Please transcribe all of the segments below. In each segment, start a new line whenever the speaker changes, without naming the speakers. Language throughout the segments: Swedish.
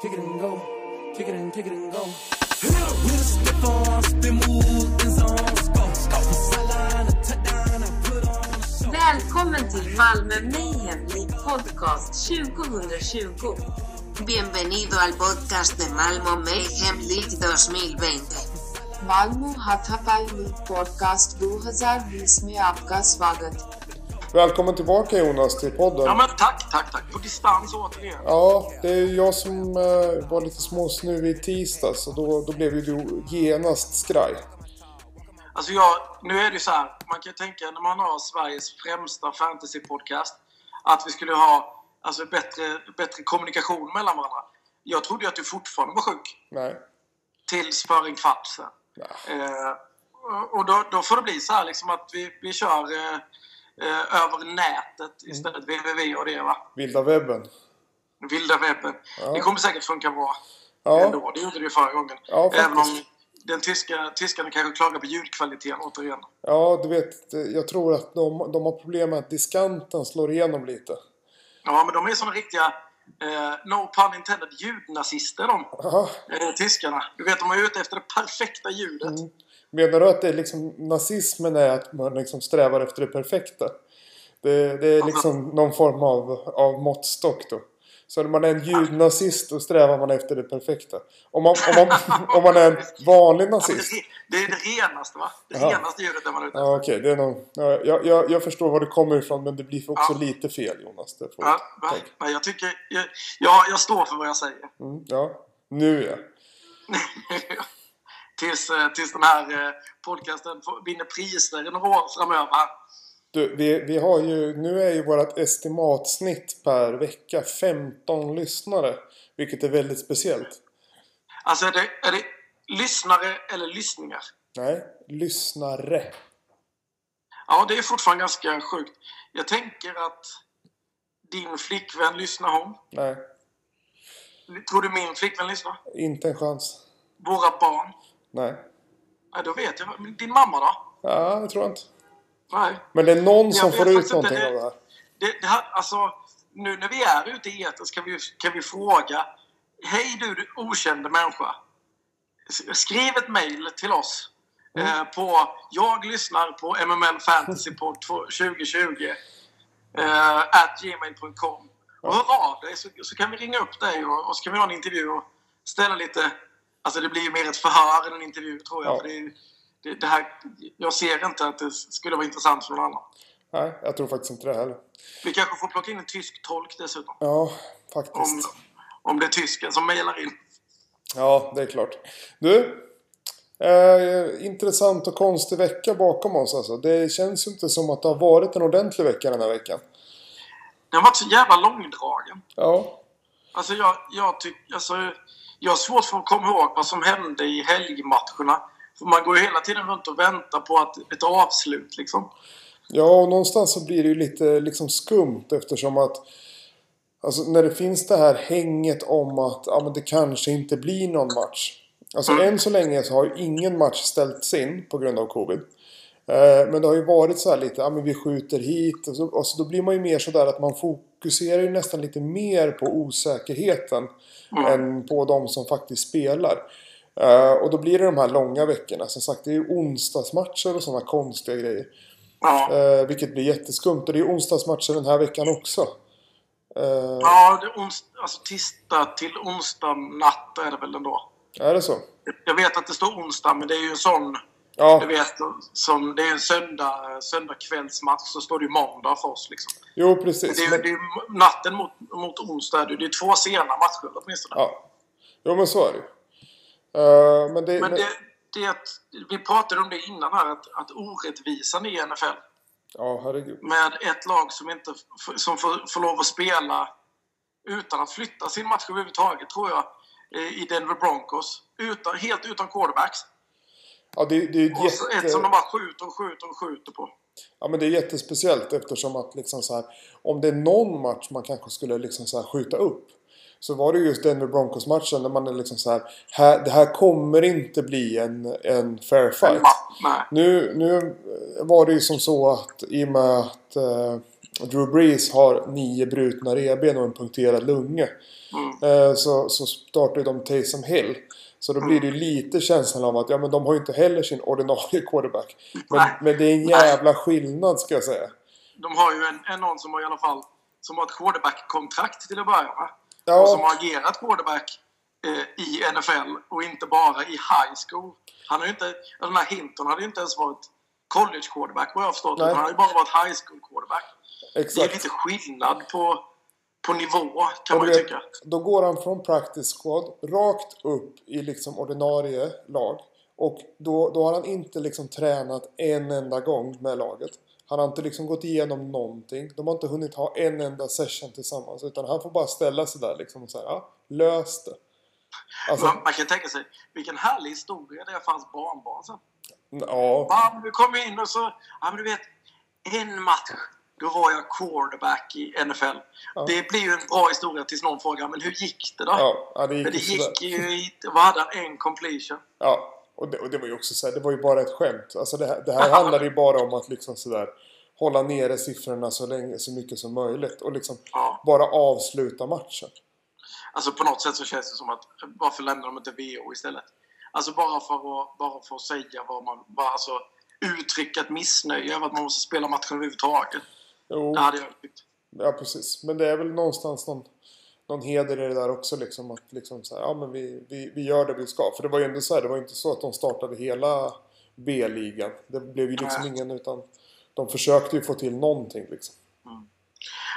kick it and go, kick it and kick it and go.
Alltså.
Välkommen till Malmö Mayhem League Podcast 2020.
Bienvenido al podcast de Malmo Mayhem League 2020.
Malmö Hathapai League Podcast 2020 में आपका स्वागत
Välkommen tillbaka Jonas till podden.
Ja men tack, tack, tack. På distans återigen.
Ja, det är jag som eh, var lite småsnuvig i tisdags och då, då blev ju du genast skraj.
Alltså jag, nu är det ju så här. Man kan ju tänka när man har Sveriges främsta fantasypodcast att vi skulle ha alltså, bättre, bättre kommunikation mellan varandra. Jag trodde ju att du fortfarande var sjuk.
Nej.
Tills för en kvart sen. Eh, och då, då får det bli så här liksom att vi, vi kör eh, eh, över nätet istället. www och det va.
Vilda webben.
Vilda webben. Det kommer säkert funka bra.
Ja,
ändå. Det gjorde det ju förra gången.
Ja,
Även om
faktiskt.
den tyska, tyskarna kanske klagar på ljudkvaliteten återigen.
ja du vet, eh, jag tror att de, de har problem med att diskanten slår igenom lite.
Ja, men de är såna riktiga, eh, no pun intended, ljudnazister de.
Aha.
Eh, tyskarna. Du vet, de är ute efter det perfekta ljudet.
Mm, Menar du att det är liksom, nazismen är att man liksom strävar efter det perfekta? Det, det är liksom någon form av, av måttstock då. Så när man är en judnazist då strävar man efter det perfekta. Om man, om man, om man är en vanlig
Ja, men
nazist.
det, är- det är det renaste va? Det
Ja.
renaste ljudet där man är ute
Ja, okej. det är nog, ja, jag, jag, jag förstår var du kommer ifrån men det blir också lite fel Jonas. Det får
Ja,
du
va?
tänka.
Nej, jag tycker... Jag, jag, jag står för vad jag säger.
Mm, ja. Nu ja.
tills, eh, tills den här eh, podcasten får- vinner priser i några år framöver. här.
Du, vi, vi har ju, nu är ju vårt estimatsnitt per vecka 15 lyssnare. Vilket är väldigt speciellt.
Alltså, är det, är det lyssnare eller lyssningar?
Nej, lyssnare.
Ja, det är fortfarande ganska sjukt. Jag tänker att din flickvän lyssnar hon.
Nej,
Tror du min flickvän lyssnar?
inte en chans.
Våra barn?
Nej,
Nej, då vet jag. Men Din mamma då?
ja, det tror jag inte.
Nej.
Men det är någon som
vet
får ut
faktiskt
någonting
inte.
av det här.
Det, det här alltså, nu när vi är ute i etern kan vi, kan vi fråga. Hej du, du okände människa. S- Skriv ett mejl till oss. Eh, på jag lyssnar på MML Fantasy på 2020. Eh, at gmail.com. Och hör av dig så, så kan vi ringa upp dig och, och så kan vi ha en intervju och ställa lite... Alltså det blir ju mer ett förhör än en intervju tror jag.
Ja.
För det, är- det, det här, jag ser inte att det skulle vara intressant för någon annan.
Nej, jag tror faktiskt inte det heller.
Vi kanske får plocka in en tysk tolk dessutom.
Ja,
Om,
faktiskt.
om det är tysken som mejlar in.
Ja, det är klart. Du, eh, intressant och konstig vecka bakom oss alltså. Det känns ju inte som att det har varit en ordentlig vecka den här veckan.
Den har varit så jävla långdragen.
Ja,
Alltså jag, jag tycker... Alltså, jag har svårt för att komma ihåg vad som hände i helgmatcherna. För man går ju hela tiden runt och väntar på att, ett avslut liksom.
ja och någonstans så blir det ju lite liksom skumt eftersom att Alltså när det finns det här hänget om att ja, men det kanske inte blir någon match. Alltså än så länge så har ju ingen match ställts in på grund av covid. Eh, men det har ju varit så här lite, ja men vi skjuter hit. Och så, och så då blir man ju mer sådär att man fokuserar ju nästan lite mer på osäkerheten. Än på de som faktiskt spelar. Eh, och då blir det de här långa veckorna. Som sagt, det är ju onsdagsmatcher och sådana konstiga grejer.
Ja,
Eh, vilket blir jätteskumt. Och det är ju onsdagsmatcher den här veckan också. Eh,
ja det är ons, alltså tisdag till onsdag natt är det väl ändå.
Är det så?
Jag vet att det står onsdag, men det är ju en sån...
Ja,
Du vet, som, det är en söndag, söndagkvällsmatch, så står det ju måndag för oss liksom.
jo precis.
Det är, ju-
Men-
det är ju natten mot, mot onsdag. Det är ju två sena matcher åtminstone.
Ja. Jo men så är det ju. Eh, men det,
Men det, det är att, vi pratade om det innan här, att, att orättvisan i NFL
Ja, herregud.
med ett lag som, inte, f- som får, får lov att spela utan att flytta sin match överhuvudtaget, tror jag, eh, i Denver Broncos. Utan, helt utan quarterbacks.
Ja, det, det är ju
Och så ett som
jätte,
de bara skjuter och skjuter och skjuter på.
ja, men det är jättespeciellt eftersom att liksom så här, om det är någon match man kanske skulle liksom så här skjuta upp. Så var det ju just Denver Broncos-matchen där man är liksom så här, här Det här kommer inte bli en, en fair fight.
Ma- Nej.
Nu, nu var det ju som så att i och med att eh, Drew Brees har nio brutna revben och en punkterad lunge.
Mm.
Eh, Så, så startar ju de Taysom Hill. Så då blir det ju
Mm.
lite känslan av att ja, men de har ju inte heller sin ordinarie quarterback. Men,
Nej.
men det är en jävla skillnad ska jag säga.
De har ju en, en någon som har i alla fall som har ett quarterback-kontrakt till att börja med.
Ja.
Och som har agerat quarterback eh, i NFL och inte bara i high school. Han har ju inte, ja, den här Hinton hade ju inte ens varit college-quarterback vad jag har förstått.
Nej.
utan Han har ju bara varit high school-quarterback. Det är
Exakt.
lite skillnad på, på nivå kan
Och
man
du
ju
vet,
tycka.
Då går han från practice squad rakt upp i liksom ordinarie lag. Och då, då har han inte liksom tränat en enda gång med laget. Han har inte liksom gått igenom någonting. De har inte hunnit ha en enda session tillsammans. Utan han får bara ställa sig där liksom och säga ja, lös det. Alltså,
Man, man kan tänka sig vilken härlig historia det är för hans barnbarn sen.
ja.
Ja, men du kom in och så... Ja, men du vet, en match, då var jag quarterback i NFL.
Ja.
Det blir ju en bra historia tills någon frågar men hur gick det då?
Ja, ja, det gick,
men det
ju sådär.
gick ju i... Vad hade han? En completion?
Ja, och det, och det var ju också så här, det var ju bara ett skämt. Alltså det, här- det här handlade ju bara om att liksom sådär hålla nere siffrorna så, länge, så mycket som möjligt och liksom
Ja.
bara avsluta matchen.
Alltså på något sätt så känns det som att varför lämnar de inte VO istället? Alltså bara för att, bara för att säga vad man... Bara alltså, uttrycka ett missnöje över att man måste spela matchen överhuvudtaget.
Jo,
Det hade jag tyckt.
ja precis. Men det är väl någonstans någon, någon heder i det där också liksom att liksom så här, ja men vi, vi, vi gör det vi ska. För det var ju ändå så här, det var ju inte så att de startade hela B-ligan. Det blev ju liksom
Nej.
ingen utan de försökte ju få till någonting liksom.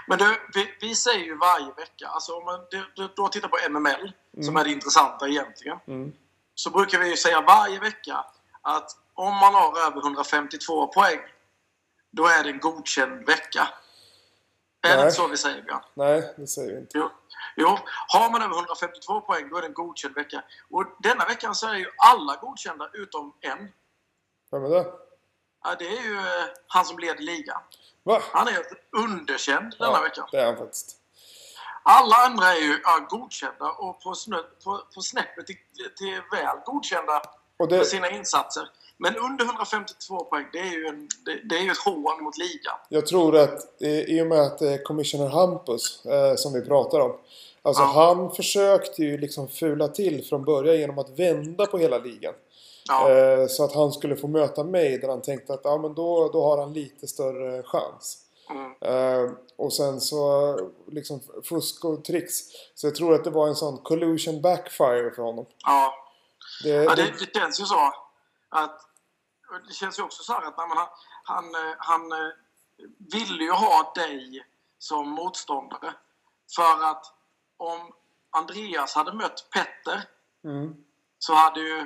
Men du, vi, vi säger ju varje vecka, alltså om man du, du, då tittar på MML, som är det intressanta egentligen,
Mm.
så brukar vi ju säga varje vecka att om man har över 152 poäng, då är det en godkänd vecka. Är det
Nej.
inte så vi säger, Björn?
Nej, det säger vi inte.
Jo. jo, har man över 152 poäng, då är det en godkänd vecka. Och denna veckan så är ju alla godkända utom en.
Vem är det?
Ja, det är ju eh, han som leder ligan.
Va?
Han är underkänd denna veckan.
det är han faktiskt.
Alla andra är ju ja, godkända och på, snö, på, på snäppet till, till väl godkända
Och
för
det,
sina insatser. Men under 152 poäng, det är ju, en, det, det är ju ett hån mot ligan.
Jag tror att eh, i och med att det är Commissioner Hampus eh, som vi pratar om. Alltså
Ja.
han försökte ju liksom fula till från början genom att vända på hela ligan.
Ja,
Eh, så att han skulle få möta mig där han tänkte att ja, men då, då har han lite större chans.
mm.
Eh, och sen så eh, liksom fusk och tricks. Så jag tror att det var en sån collusion backfire för honom.
ja.
Det,
Ja,
Eh, det,
det, det känns ju så att... Det känns ju också så här att nej, men han, han, eh, han eh, ville ju ha dig som motståndare. För att om Andreas hade mött Petter
mm,
så hade ju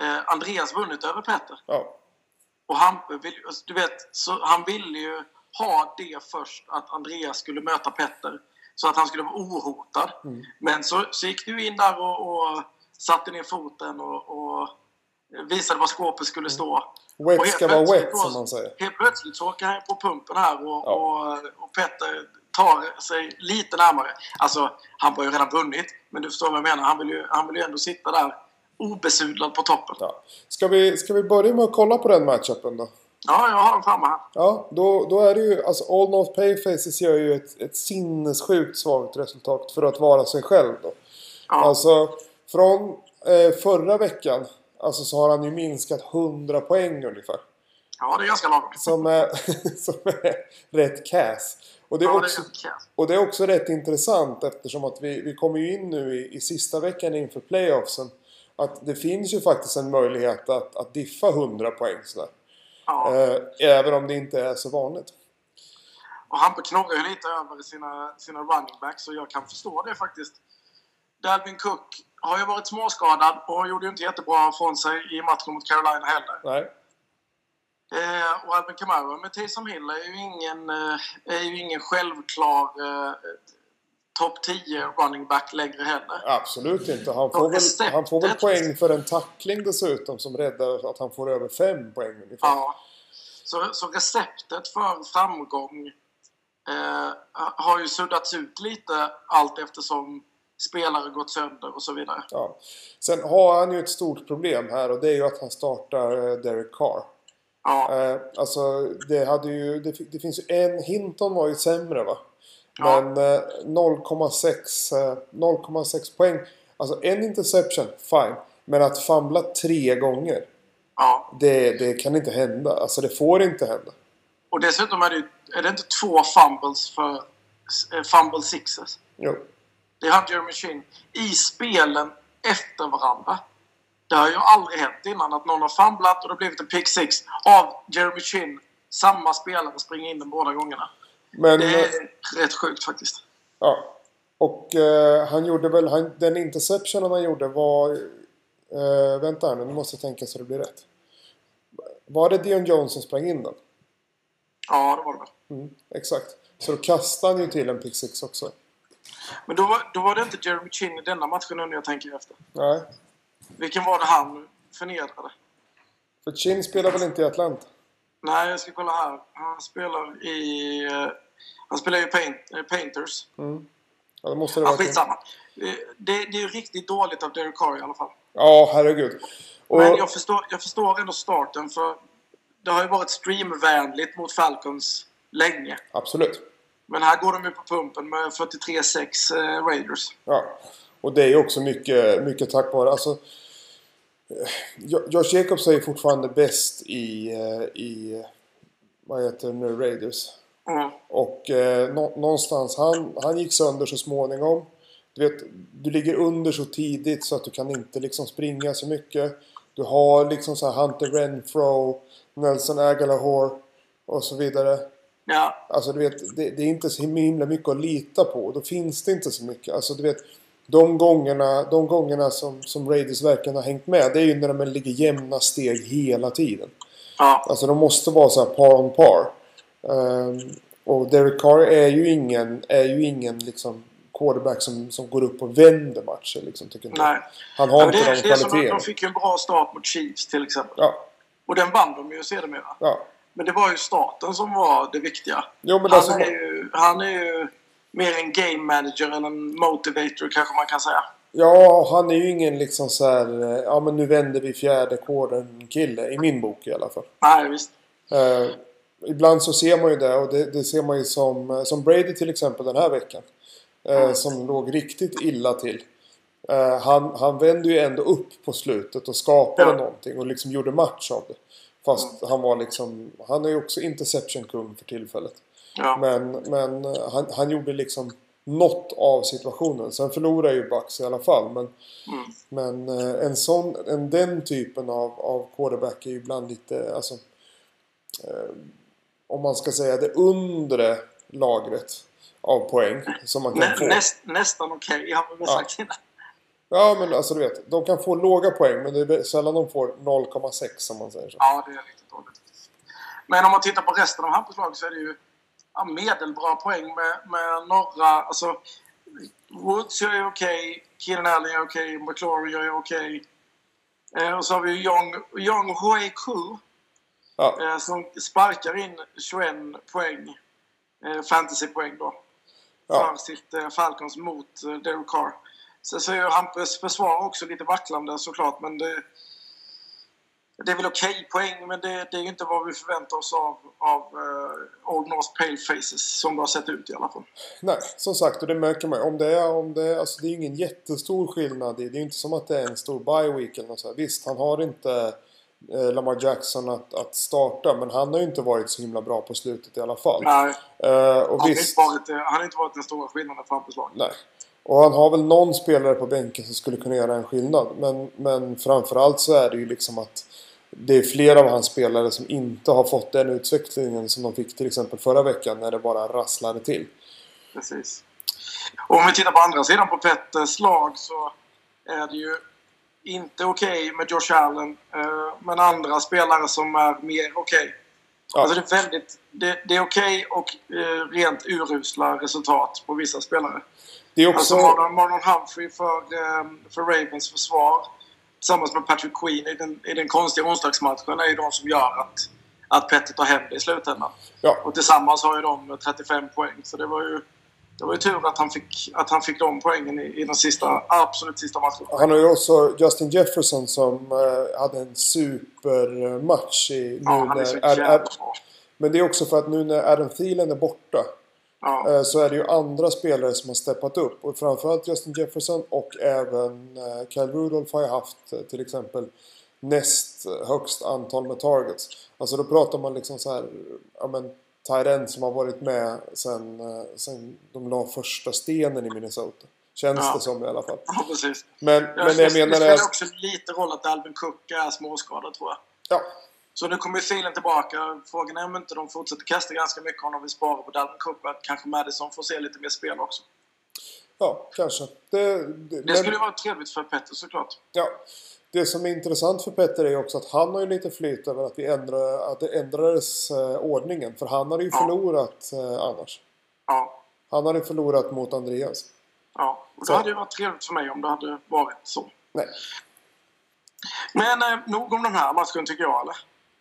eh, Andreas vunnit över Petter.
ja.
Och han, vill- alltså, du vet, så han ville ju ha det först, att Andreas skulle möta Petter. Så att han skulle vara ohotad.
Mm.
Men så, så gick du in där och, och satte ner foten och, och visade var skåpet
Mm.
skulle stå. Och
Wet
helt
ska vara
plötsligt
wet
då-
som man säger.
Helt plötsligt så åker han på pumpen här och,
Ja.
och, och Petter tar sig lite närmare. Alltså, han har ju redan vunnit, men du förstår vad jag menar. Han vill ju, han vill ju ändå sitta där obesudlad på toppen. Ja,
Ja. Ska, vi, ska vi börja med att kolla på den matchupen då?
jag har den framme här.
Ja, då, då är det ju... Alltså All North Payfaces gör ju ett, ett sinnessjukt svagt resultat för att vara sig själv då.
Ja.
Alltså, från eh, förra veckan alltså, så har han ju minskat 100 poäng ungefär.
ja, det är ganska lagom.
Som är, som är rätt kass. Och det, är
Ja,
också,
det är ganska-
och det är också rätt intressant eftersom att vi, vi kommer ju in nu i, i sista veckan inför playoffsen. Att det finns ju faktiskt en möjlighet att, att diffa 100 poäng sådär.
ja.
Eh, även om det inte är så vanligt.
Och han knorrar ju lite över sina, sina running backs och jag kan förstå det faktiskt. Dalvin Cook har ju varit småskadad och gjorde ju inte jättebra från sig i matchen mot Carolina heller.
Nej.
Eh, och Alvin Kamara med Taysom Hill är ju ingen, eh, är ju ingen självklar eh, topp 10 running back längre heller.
Absolut inte. Han
Ja,
får, väl,
exakt.
han får väl poäng för en tackling dessutom som räddar att han får över fem poäng ungefär.
Ja. Så, så receptet för framgång eh, har ju suddats ut lite allt eftersom spelare gått sönder och så vidare.
Ja. Sen har han ju ett stort problem här och det är ju att han startar eh, Derek Carr.
Ja,
Eh, alltså, det, hade ju, det, fi- det finns ju en... Hinton var ju sämre va?
Ja.
Men eh, 0,6 eh, 0,6 poäng. Alltså en interception, fine. Men att famla tre gånger,
ja.
det, det kan inte hända. Alltså det får inte hända.
Och dessutom är det, ju- är det inte två fumbles för eh, fumble sixes.
Jo.
Det hade Jeremy Chin i spelen efter varandra. Det har ju aldrig hänt innan att någon har fumblat och det har blivit en pick six av Jeremy Chin. Samma spelare springer in den båda gångerna.
Men,
Det
eh,
är rätt sjukt faktiskt.
ja. Och eh, han gjorde väl, han, den interceptionen han gjorde var... Eh, vänta här nu, nu måste jag tänka så det blir rätt. Var det Dion Jones som sprang in den?
Ja, det var det väl.
Mm, exakt. Så då kastade han ju till en pick six också.
Men då var, då var det inte Jeremy Chin i denna matchen nu när jag tänker efter.
Nej.
Vilken var det han förnedrade?
För Chin spelar väl inte i Atlanta?
Nej, jag ska kolla här. Han spelar i... eh, Han spelar ju paint, eh, Painters.
Ja, det måste det
Ja,
vara.
skitsamma. Eh, Det, det är ju riktigt dåligt av Derek Carr i alla fall.
Ja, herregud. Och,
Men jag förstår, jag förstår ändå starten för det har ju varit streamvänligt mot Falcons länge.
Absolut.
Men här går de ju på pumpen med 43-6 eh, Raiders.
Ja. Och det är ju också mycket, mycket tack vare... Alltså, eh, Jo- Josh Jacobs är ju fortfarande bäst i, eh, i... eh, Vad heter det nu? Raiders.
Mm.
Och eh, nå- någonstans, han, han gick sönder så småningom. Du vet, du ligger under så tidigt så att du kan inte liksom springa så mycket. Du har liksom så här Hunter Renfro, Nelson Aguilar och så vidare.
Ja,
Alltså du vet, det, det är inte så himla mycket att lita på. Då finns det inte så mycket. Alltså du vet, de gångerna, de gångerna som, som Raiders verkligen har hängt med, det är ju när de ligger jämna steg hela tiden.
ja,
Alltså de måste vara så här par on par. Ehm, och Derek Carr är ju ingen, är ju ingen liksom quarterback som, som går upp och vänder matcher liksom, tycker inte. jag.
nej.
Han har
Men
inte
det,
de
är- det är som att
kvaliteterna.
de fick ju en bra start mot Chiefs till exempel.
Ja,
Och den vann de ju sedermera.
ja.
Men det var ju starten som var det viktiga.
Jo men alltså,
Han är ju, han är ju mer en game manager än en motivator kanske man kan säga.
ja han är ju ingen liksom så här, eh, ja men nu vänder vi fjärde quartern kille. I min bok i alla fall.
Nej, visst.
Eh, ibland så ser man ju det och det, det ser man ju som, eh, som Brady till exempel den här veckan. Eh, Som låg riktigt illa till. Eh, han, han vände ju ändå upp på slutet och skapade
Ja.
någonting och liksom gjorde match av det. Fast han var liksom, han är ju också interception-kung för tillfället.
Ja.
Men, men eh, han, han gjorde liksom något av situationen. Sen förlorar ju Bucks i alla fall. Men,
Mm.
men eh, en sån, en, den typen av, av quarterback är ju ibland lite, alltså, eh, om man ska säga det undre lagret av poäng som man kan
Nä,
få.
näst, nästan okej, har vi väl
Ja.
sagt innan.
Ja men alltså du vet, de kan få låga poäng men det är sällan de får 0,6 som man säger så.
Ja, det är riktigt dåligt. Men om man tittar på resten av Hampus lag så är det ju ja, medelbra poäng med, med några... Alltså, Woods gör ju okej, Keenan Allen gör okej, McLaurin gör ju okej. Eh, och så har vi ju Young, Young Hui Ku
Ja.
eh, som sparkar in 21 poäng, eh, fantasypoäng då,
Ja.
för sitt eh, Falcons mot eh, Derek Carr. Sen så är ju Hampus försvar också lite vacklande såklart, men det, det är väl okej poäng, men det, det är ju inte vad vi förväntar oss av, av eh, Old North Pale Faces som det har sett ut i alla
Mm.
fall.
Nej, som sagt, och det märker man ju. om det är, om det är, alltså det är ju ingen jättestor skillnad i, det är ju inte som att det är en stor bye week eller något så här. Visst, han har inte eh, Lamar Jackson att, att starta, men han har ju inte varit så himla bra på slutet i alla fall.
Nej,
Eh, och
han, har inte
visst,
varit, eh, han har inte varit den stora skillnaden för Hampus lag.
nej. Och han har väl någon spelare på bänken som skulle kunna göra en skillnad, men, men framförallt så är det ju liksom att det är flera av hans spelare som inte har fått den utvecklingen som de fick till exempel förra veckan när det bara rasslade till.
Precis. Och om vi tittar på andra sidan på Petters lag så är det ju inte okej med Josh Allen. eh, Men andra spelare som är mer okej.
Ja.
Alltså det är väldigt... Det, det är okej och eh, rent urusla resultat på vissa spelare.
Det är också...
Alltså Marlon, Marlon Humphrey för, eh, för Ravens försvar tillsammans med Patrick Queen i den, i den konstiga onsdagsmatchen är ju de som gör att, att Petter tar hem det i slutändan.
Ja,
Och tillsammans har ju de 35 poäng. Så det var ju Det var ju tur att han fick, att han fick de poängen i, i den sista, absolut sista matchen.
Han har ju också Justin Jefferson som eh, hade en supermatch i, nu
Ja, han är så
när... eh, Är,
jävla
är,
bra.
men det är också för att nu när Adam Thielen är borta
Ja,
eh, så är det ju andra spelare som har steppat upp. Och framförallt Justin Jefferson och även eh, Kyle Rudolph har ju haft eh, till exempel näst högst antal med targets. Alltså då pratar man liksom så här, ja men Tyrend som har varit med sen, eh, sen de la första stenen i Minnesota. Känns
Ja.
det som i alla fall.
ja precis.
Men, men det jag
det
menar är...
spelar också lite roll att Dalvin Cook är småskadad tror jag.
Ja,
Så nu kommer ju filen tillbaka. Frågan är om inte de fortsätter kasta ganska mycket om de vill spara på Dalvin Cook och att kanske Madison får se lite mer spel också.
ja kanske. Det, det,
Det skulle ju
men,
vara trevligt för Petter såklart.
ja. det som är intressant för Petter är ju också att han har ju lite flyt över att, vi ändrar, att det ändrades eh, ordningen. För han hade ju
Ja.
förlorat eh, annars.
Ja,
Han hade förlorat mot Andreas.
ja. Och
Så.
det hade ju varit trevligt för mig om det hade varit så.
Nej.
Men eh, nog om den här matchen tycker jag eller?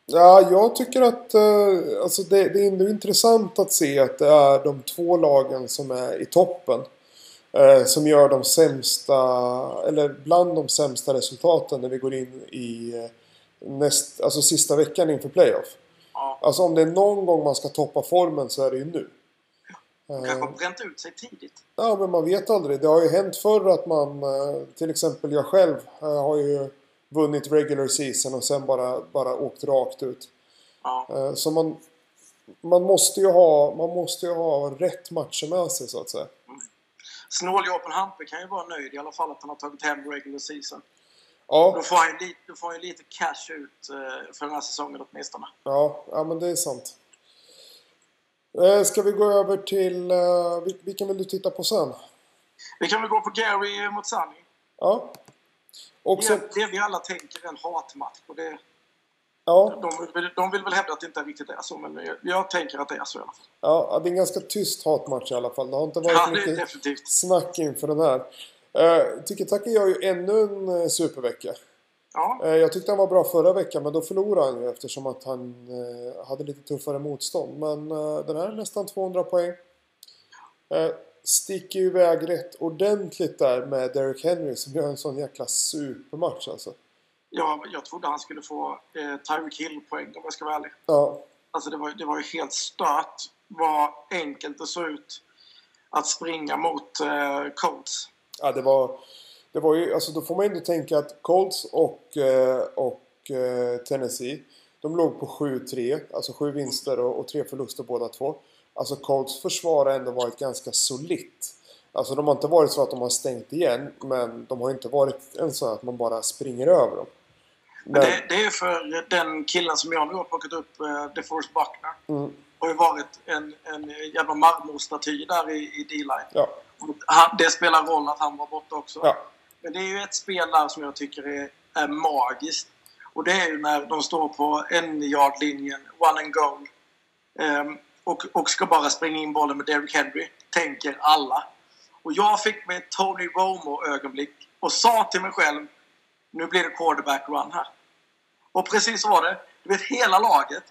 Ja, jag tycker att eh, alltså det, det är ändå intressant att se att det är de två lagen som är i toppen. Eh, som gör de sämsta, eller bland de sämsta resultaten när vi går in i eh, näst, alltså sista veckan inför playoff.
Ja.
Alltså om det är någon gång man ska toppa formen så är det ju nu. Eh.
De kanske har bränt ut sig tidigt.
Ja, men man vet aldrig. Det har ju hänt förr att man, eh, till exempel jag själv, eh, har ju vunnit regular season och sen bara, bara åkt rakt ut.
Ja,
Eh, Så man, man, måste ju ha, man måste ju ha rätt matcher med sig så att säga.
Snåljåpen Hampe kan ju vara nöjd i alla fall att han har tagit hem regular season. Då
Ja,
får han ju lite, då får han ju lite cash ut eh, för den här säsongen åtminstone.
ja, ja men det är sant. Eh, Ska vi gå över till, eh, vil- vilken vill du titta på sen?
Vi kan väl gå på Gary mot Sunny.
Ja. Och sen,
Det, det vi alla tänker är en hatmatch. Och det,
ja,
de, vill, de vill väl hävda att det inte riktigt är så, men jag, jag tänker att det är så i alla fall.
ja, det är en ganska tyst hatmatch i alla fall. Det har inte
Ja,
varit
det är
mycket
definitivt.
snack inför den här. Eh, Tycker Taka gör ju ännu en eh, supervecka.
Ja,
Eh, Jag tyckte han var bra förra veckan men då förlorade han ju eftersom att han eh, hade lite tuffare motstånd. Men eh, den här är nästan 200 poäng. Eh, sticker ju iväg rätt ordentligt där med Derrick Henry som gör en sån jäkla supermatch alltså.
jag, jag trodde han skulle få eh, Tyreek Hill-poäng om jag ska vara ärlig.
Ja,
Alltså det var, det var ju helt stört vad enkelt det såg ut att springa mot eh, Colts.
ja det var... Det var ju, alltså då får man ju ändå tänka att Colts och, eh, och eh, Tennessee de låg på 7-3, alltså sju vinster och, och tre förluster båda två. Alltså Colts försvar har ändå varit ganska solitt. Alltså de har inte varit så att de har stängt igen men de har inte varit en så att man bara springer över dem.
Men
Men,
det, det är för den killen som jag nu har plockat upp, eh, DeForest Buckner.
Mm.
har ju varit en, en jävla marmorstaty där i, i D-line.
ja,
Och han- Det spelar roll att han var borta också.
ja,
Men det är ju ett spel där som jag tycker är, är magiskt. Och det är ju när de står på en yard-linjen, one and goal. ehm, och, och ska bara springa in bollen med Derrick Henry, tänker alla. Och jag fick mig ett Tony Romo-ögonblick och sa till mig själv nu blir det quarterback run här. Och precis så var det. Du vet, hela laget.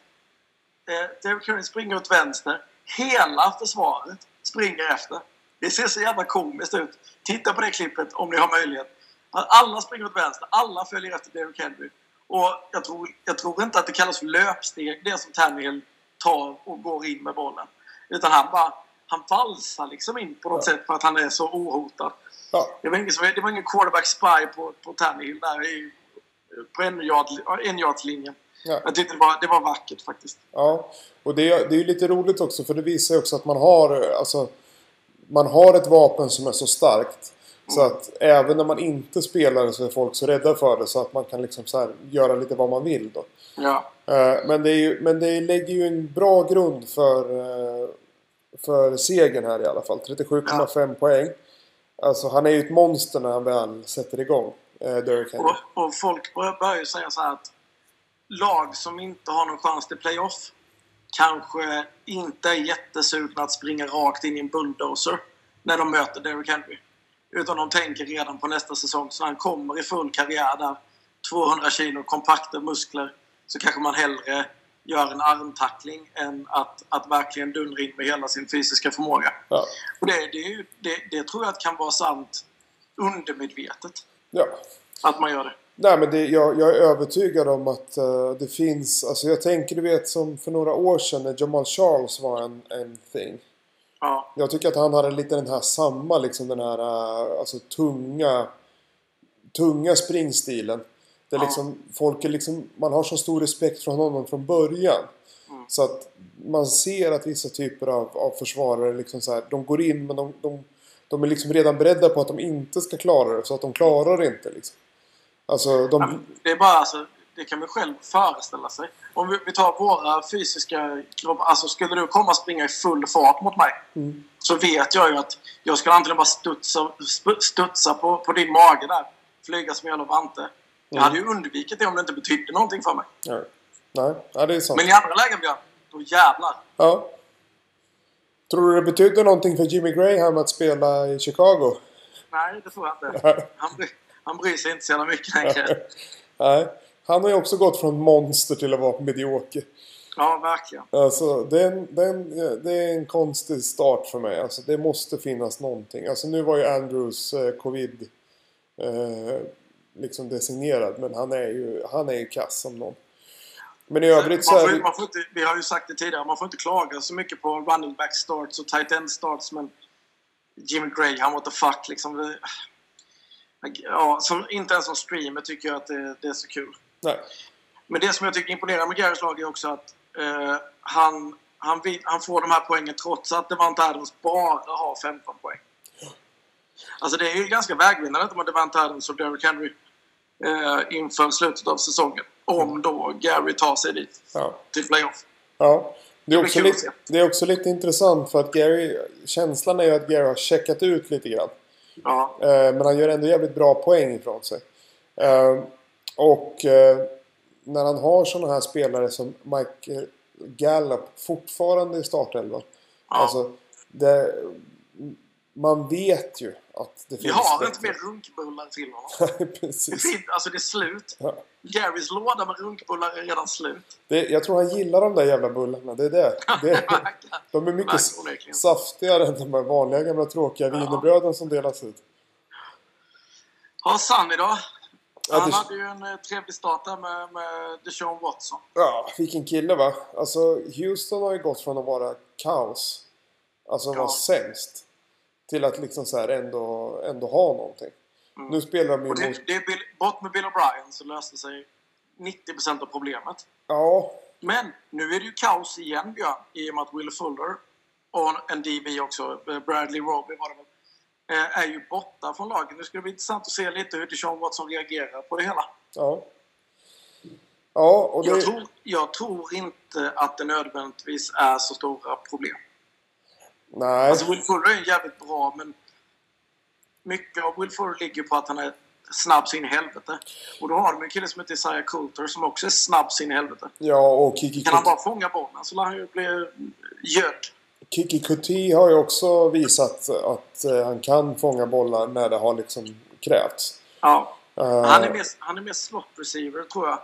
Eh, Derrick Henry springer åt vänster. Hela försvaret springer efter. Det ser så jävla komiskt ut. Titta på det klippet om ni har möjlighet. Alla springer åt vänster. Alla följer efter Derrick Henry. Och jag tror, jag tror inte att det kallas för löpsteg, det som Tannehill tar och går in med bollen. Utan han bara, han valsar liksom in på något sätt för att han är så ohotad.
ja,
Det var ingen, som- det var ingen quarterback spy på, på Tannehill där i, på en yard- en yardslinjen.
ja.
Jag tyckte det var, det var vackert faktiskt.
Ja, och det, är- det är ju lite roligt också för det visar ju också att man har, alltså, man har ett vapen som är så starkt. Så att även när man inte spelar det så är folk så rädda för det så att man kan liksom så här göra lite vad man vill då.
Ja,
Eh, Men det, är ju, men det lägger ju en bra grund för, eh, för segern här i alla fall. 37,5 poäng. Alltså han är ju ett monster när han väl sätter igång. eh, Derrick Henry.
och, och folk bör- börjar ju säga så här att lag som inte har någon chans till playoff kanske inte är jättesugna att springa rakt in i en bulldozer när de möter Derrick Henry. Utan de tänker redan på nästa säsong, så när han kommer i full karriär där, 200 kilo kompakta muskler, så kanske man hellre gör en armtackling än att, att verkligen dundra in med hela sin fysiska förmåga.
Ja.
Och det, det, är ju, det, det tror jag att kan vara sant undermedvetet,
ja.
att man gör det.
Nej, men det, jag, jag är övertygad om att eh, det finns... Alltså jag tänker du vet som för några år sedan när Jamal Charles var en, en thing.
Ja,
Jag tycker att han hade lite den här samma liksom den här eh, alltså tunga tunga springstilen. Där
Ja.
liksom folk är liksom, man har så stor respekt från honom från början.
Mm.
Så att man ser att vissa typer av, av försvarare liksom så här, de går in men de, de, de är liksom redan beredda på att de inte ska klara det så att de klarar det inte liksom. Alltså de...
Ja, men det är bara alltså, det kan man själv föreställa sig. Om vi, vi tar våra fysiska kroppar, alltså skulle du komma och springa i full fart mot mig
Mm.
så vet jag ju att jag skulle antingen bara studsa, sp- studsa på, på din mage där, flyga som en jävla vante. Jag
Mm.
hade ju undvikit det om det inte betydde någonting för mig.
Nej, nej, ja, det är sant.
Men i andra lägen Björn, då jävlar.
Ja. Tror du det betydde någonting för Jimmy Graham att spela i Chicago?
Nej, det tror jag inte. Han, bry- han bryr sig inte så jävla mycket längre.
Nej. Han har ju också gått från monster till att vara medioker.
Ja, verkligen.
Alltså, det, är en, det, är en, det är en konstig start för mig. Alltså, det måste finnas någonting. Alltså, nu var ju Andrews eh, covid eh, liksom designerad. Men han är, ju, han är ju kass som någon. Men i övrigt så
man
är
får,
det...
man får inte, vi har ju sagt det tidigare, man får inte klaga så mycket på running back starts och tight end starts men Jimmy Graham, what the fuck liksom. Vi, ja, som, inte ens som streamer tycker jag att det, det är så kul.
Nej.
Men det som jag tycker imponerar med Garys lag är också att eh, han, han, vin- han får de här poängen trots att Devante Adams bara har 15 poäng. Alltså det är ju ganska vägvinnande att de har Devante Adams och Derrick Henry eh, inför slutet av säsongen. Om då Gary tar sig dit
Ja.
till playoff.
Ja. Det är,
blir
också
kul att
lite,
se.
det är också lite intressant för att Gary, känslan är ju att Gary har checkat ut lite grann.
Ja,
Eh, men han gör ändå jävligt bra poäng ifrån sig. Eh, och eh, när han har sådana här spelare som Mike eh, Gallup fortfarande i startelvan.
Ja.
Alltså, det, man vet ju att det finns...
vi har
bättre.
inte mer runkbullar till honom. Det,
Precis.
finns, alltså det är slut.
Ja.
Garys låda med runkbullar är redan slut.
Det, jag tror han gillar de där jävla bullarna. Det är det. det de är mycket
Verkligen, verkligen.
saftigare än de här vanliga gamla tråkiga wienerbröden som delas ut.
Har Sunny då?
Ja,
Han
det-
hade ju en eh, trevlig start där med, med Deshaun Watson.
Ja, vilken kille va? Alltså Houston har ju gått från att vara kaos, alltså vara
Ja.
sämst, till att liksom så här ändå, ändå ha någonting. Nu spelar de ju
Mm. Och
mot...
det, det är Bill, bort med Bill O'Brien så löste sig 90% av problemet.
Ja,
Men nu är det ju kaos igen Björn, i och med att Will Fuller och en DB också, eh, Bradley Roby var det väl, eh, är ju borta från laget. Nu ska det bli intressant att se lite hur Deshaun Watson reagerar på det hela.
ja. Ja, och det...
Jag tror, jag tror inte att det nödvändigtvis är så stora problem.
Nej.
Alltså Will Fuller är ju jävligt bra men mycket av Will Fuller ligger på att han är snabb sin helvete. Och då har de en kille som heter Isaiah Coulter som också är snabb sin helvete.
Ja, och Kiki,
Kan han
Kut-
bara fånga bollen så lär han ju bli göd.
Kiki Kuti har ju också visat att eh, han kan fånga bollar när det har liksom krävts.
Ja.
Eh,
Han är mer, han är mer slot receiver tror jag.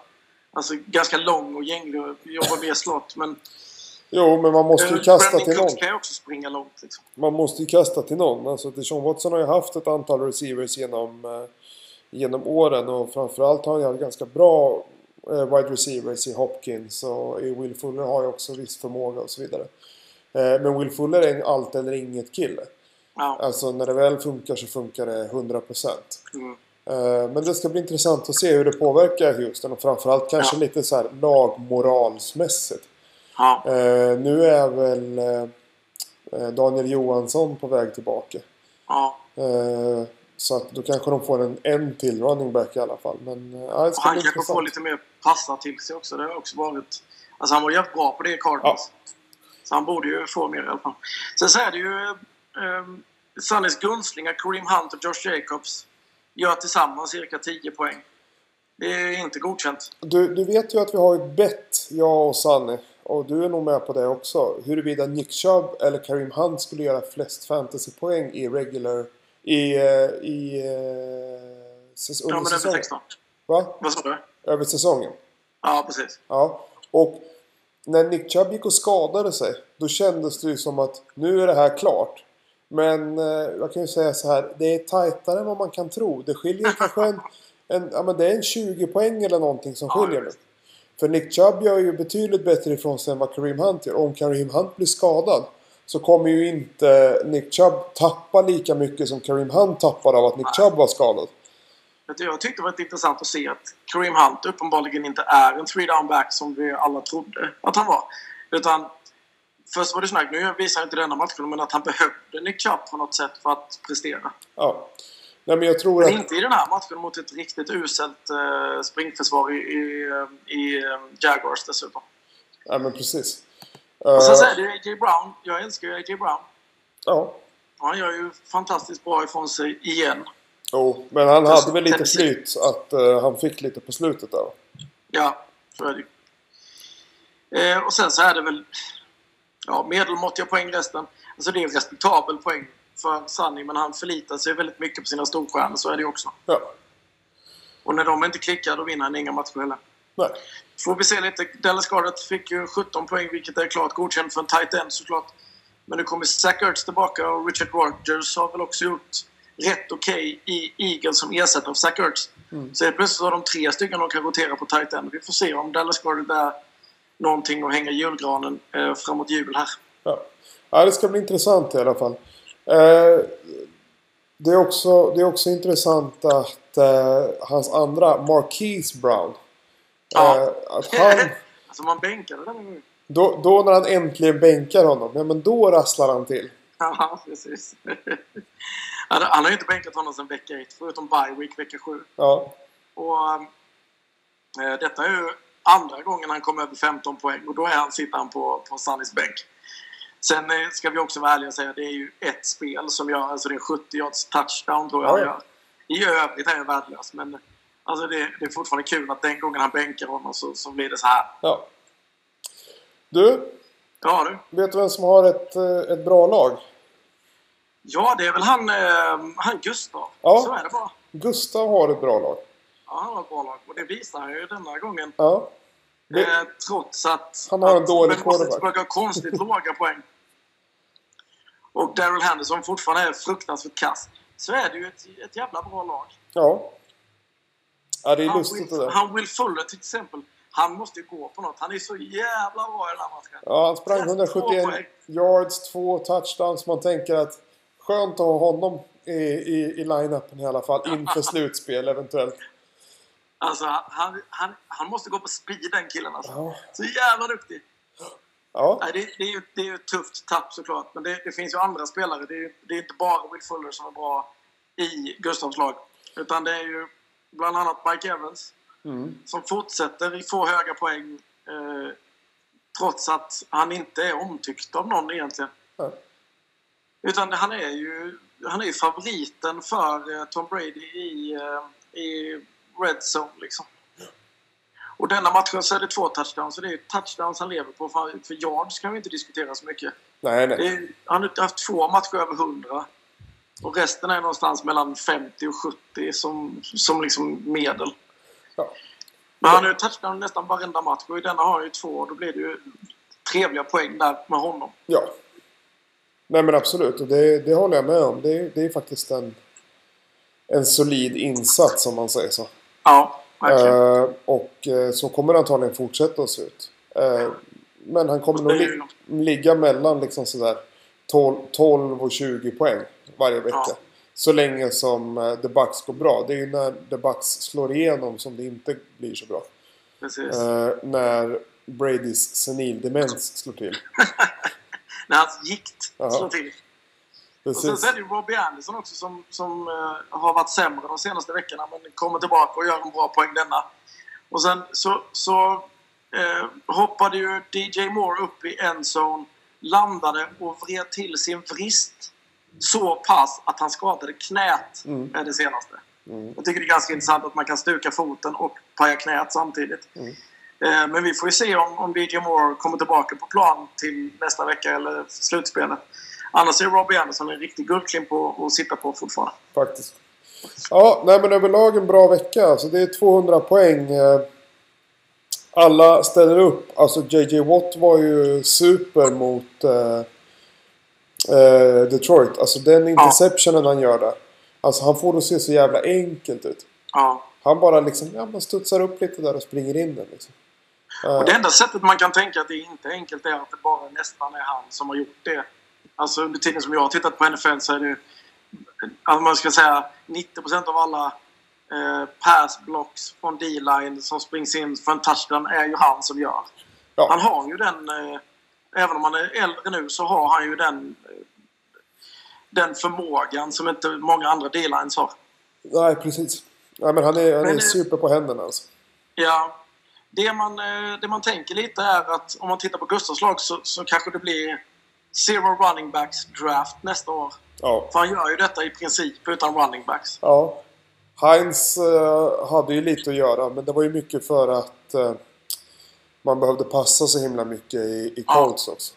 Alltså ganska lång och gänglig och jobbar mer slot men...
Jo, men man måste ju
Eh,
kasta till någon.
Cooks kan ju också springa långt liksom.
Man måste ju kasta till någon. Alltså, Deshaun Watson har ju haft ett antal receivers genom, eh, genom åren och framförallt har han ju haft ganska bra eh, wide receivers i Hopkins och i Will Fuller har ju också viss förmåga och så vidare. Eh, men Will Fuller är en allt eller inget kille.
Ja.
Alltså när det väl funkar så funkar det 100%.
Mm.
Eh, men det ska bli intressant att se hur det påverkar Houston och framförallt kanske
Ja.
lite så här lagmoralsmässigt.
Ja.
Eh, nu är väl eh, eh, Daniel Johansson på väg tillbaka.
ja.
Eh, så att då kanske de får en, en till running back i alla fall. Men eh, ja, det
Och
ska bli
han kanske får
intressant.
lite mer passa till sig också. Det har också varit... Alltså han var jävligt bra på det i Cardinals. Så han borde ju få mer i alla fall. Sen så är det ju... Eh, Sunnys gunstlingar Kareem Hunt och Josh Jacobs gör tillsammans cirka 10 poäng. Det är inte godkänt.
Du, du vet ju att vi har ett bett, jag och Sanne. Och du är nog med på det också. Huruvida Nick Chubb eller Kareem Hunt skulle göra flest fantasypoäng i regular... I... eh, i eh, säs-
Ja,
under
men över
säsongen.
16.
Va?
Vad sa du?
Över säsongen.
Ja, precis.
Ja. Och när Nick Chubb gick och skadade sig, då kändes det ju som att nu är det här klart. Men eh, jag kan ju säga så här, det är tajtare än vad man kan tro. Det skiljer kanske en, en, ja, men det är en 20 poäng eller någonting som
Ja,
skiljer nu.
visst.
För Nick Chubb gör ju betydligt bättre ifrån sig än vad Kareem Hunt gör. Om Kareem Hunt blir skadad så kommer ju inte Nick Chubb tappa lika mycket som Kareem Hunt tappar av att Nick Chubb var skadad.
Vet du, Jag tyckte det var intressant att se att Kareem Hunt uppenbarligen inte är en three down back som vi alla trodde att han var. Utan först var det snack, nu visar inte denna matchen, men att han behövde Nick Chubb på något sätt för att prestera.
Ja. Nej men jag tror
Men
att...
inte i den här matchen mot ett riktigt uselt eh, springförsvar i, i, i eh, Jaguars dessutom.
Nej men precis.
Och sen
Eh,
så är det ju A.J. Brown. Jag älskar ju A.J. Brown.
Ja.
Och han gör ju fantastiskt bra ifrån sig igen.
Jo, men han hade väl lite
Tennessee.
flyt att eh, han fick lite på slutet där.
Ja, så är det ju. eh, Och sen så är det väl ja, medelmåttiga poäng resten. Alltså det är en respektabel poäng för Sunny, men han förlitar sig väldigt mycket på sina storstjärnor. Så är det ju också.
Ja.
Och när de inte klickar, då vinner han inga matcher heller.
Nej.
Får vi se lite. Dallas Gardet fick ju 17 poäng, vilket är klart godkänt för en tight end såklart. Men nu kommer Zach Ertz tillbaka och Richard Rodgers har väl också gjort rätt okej i Eagles som ersättare av Zach Ertz. Så helt plötsligt har de tre stycken de kan rotera på tight end. Vi får se om Dallas Gardet är någonting att hänga i julgranen eh, framåt jul här.
Ja. ja, det ska bli intressant i alla fall. Eh, det, är också, det är också intressant att eh, hans andra, Marquise Brown.
Ja.
Eh, att han,
alltså man bänkade den gången.
då, då när han äntligen bänkar honom, ja men då rasslar han till.
Ja, precis. Han har- Han har ju inte bänkat honom sedan vecka 1, förutom bye week vecka 7.
Ja,
Och eh, detta är ju andra gången han kom över 15 poäng och då är han, sitter han på, på Sunnys bänk. Sen eh, ska vi också vara ärliga och säga att det är ju ett spel som gör, alltså det är 70 yards touchdown tror
Ja,
jag han
ja.
gör. I övrigt är jag värdelös men alltså det, det är fortfarande kul att den gången han bänkar honom så, så blir det så här.
ja. Du,
Ja du.
vet du vem som har ett, eh, ett bra lag?
Ja det är väl han, eh, han Gustav.
Ja.
Så är det bara.
Gustav har ett bra lag.
Ja, han har ett bra lag och det visar han ju denna gången.
Ja. Det,
Eh, alltså, trots att...
Han har en
att
dålig quarterback.
quarterback. har konstigt låga poäng. Och Daryl Henderson fortfarande är fruktansvärt kass. Så är det ju ett, ett jävla bra lag.
ja. ja, det är
Han
lustigt det
Will,
där.
han Will Fuller till exempel. Han måste ju gå på något. Han är så jävla bra i den här matchen.
Ja, han sprang
171
171 yards, två touchdowns. Man tänker att skönt att ha honom i, i, i line-upen i alla fall inför slutspel eventuellt.
Alltså, han, han, han måste gå på speed den killen alltså.
Ja,
Så jävla duktig.
ja,
Nej, det, det, är ju, det är ju ett tufft tapp såklart. Men det, det finns ju andra spelare. Det är, ju- det är inte bara Will Fuller som är bra i Gustavs lag. Utan det är ju bland annat Mike Evans.
Mm.
Som fortsätter få höga poäng. Eh, trots att han inte är omtyckt av någon egentligen.
Ja.
Utan han är ju han är ju favoriten för eh, Tom Brady i, eh, i Red Zone liksom. Och denna matchen så är det två touchdowns. Så det är ju touchdowns han lever på. För, för yards kan vi inte diskutera så mycket.
nej,
Det
nej.
är, han har haft två matcher över 100. Och resten är någonstans mellan 50 och 70 som, som liksom medel.
Ja.
Men han har ju touchdown nästan varenda match. Och i denna har han ju två. Och då blir det ju trevliga poäng där med honom.
Ja. Nej, men absolut. Och det, det håller jag med om. Det, är- det är faktiskt en, en solid insats om man säger så.
Ja, verkligen.
Eh, och eh, så kommer det antagligen fortsätta att se ut. Eh, men han kommer
Och
nog
det är
li- ligga mellan liksom sådär 12, 12 och 20 poäng varje vecka.
Ja.
Så länge som eh, The Bucks går bra. Det är ju när The Bucks slår igenom som det inte blir så bra.
Precis.
Eh, när Bradys senildemens slår till.
När hans gikt
Ja.
slår till. Och sen
Precis.
så är det ju Robbie Anderson också som, som eh, har varit sämre de senaste veckorna men kommer tillbaka och gör en bra poäng denna. Och sen så, så eh, hoppade ju DJ Moore upp i en zone, landade och vred till sin vrist så pass att han skadade knät
Mm.
är det senaste.
Mm.
Jag tycker det är ganska intressant att man kan stuka foten och paja knät samtidigt.
Mm.
Eh, Men vi får ju se om, om DJ Moore kommer tillbaka på plan till nästa vecka eller slutspelet. Annars är Robbie Anderson en riktig guldklimp på att sitta på fortfarande.
Faktiskt. Ja, nej men överlag en bra vecka. Alltså det är 200 poäng. eh, alla ställer upp. Alltså JJ Watt var ju super mot eh, eh, Detroit. Alltså den interceptionen han gör där. Alltså han får det att se så jävla enkelt ut.
Ja.
Han bara liksom, ja man studsar upp lite där och springer in den liksom.
Och det enda sättet man kan tänka att det inte är enkelt är att det bara nästan är han som har gjort det. Alltså under tiden som jag har tittat på NFL så är det ju- alltså man ska säga 90% av alla eh, pass blocks från D-line som springs in för en touchdown är ju han som gör.
Ja.
Han har ju den, eh, även om han är äldre nu så har han ju den, eh, den förmågan som inte många andra D-lines har.
Nej precis. Nej men han är, han
Men,
är
eh,
super på händerna alltså.
Ja. Det man, eh, det man tänker lite är att om man tittar på Gustavs lag så, så kanske det blir zero running backs draft nästa år.
Ja.
För han gör ju detta i princip utan running backs.
Ja. Heinz eh, hade ju lite att göra men det var ju mycket för att eh, man behövde passa så himla mycket i, i
Ja.
Colts också.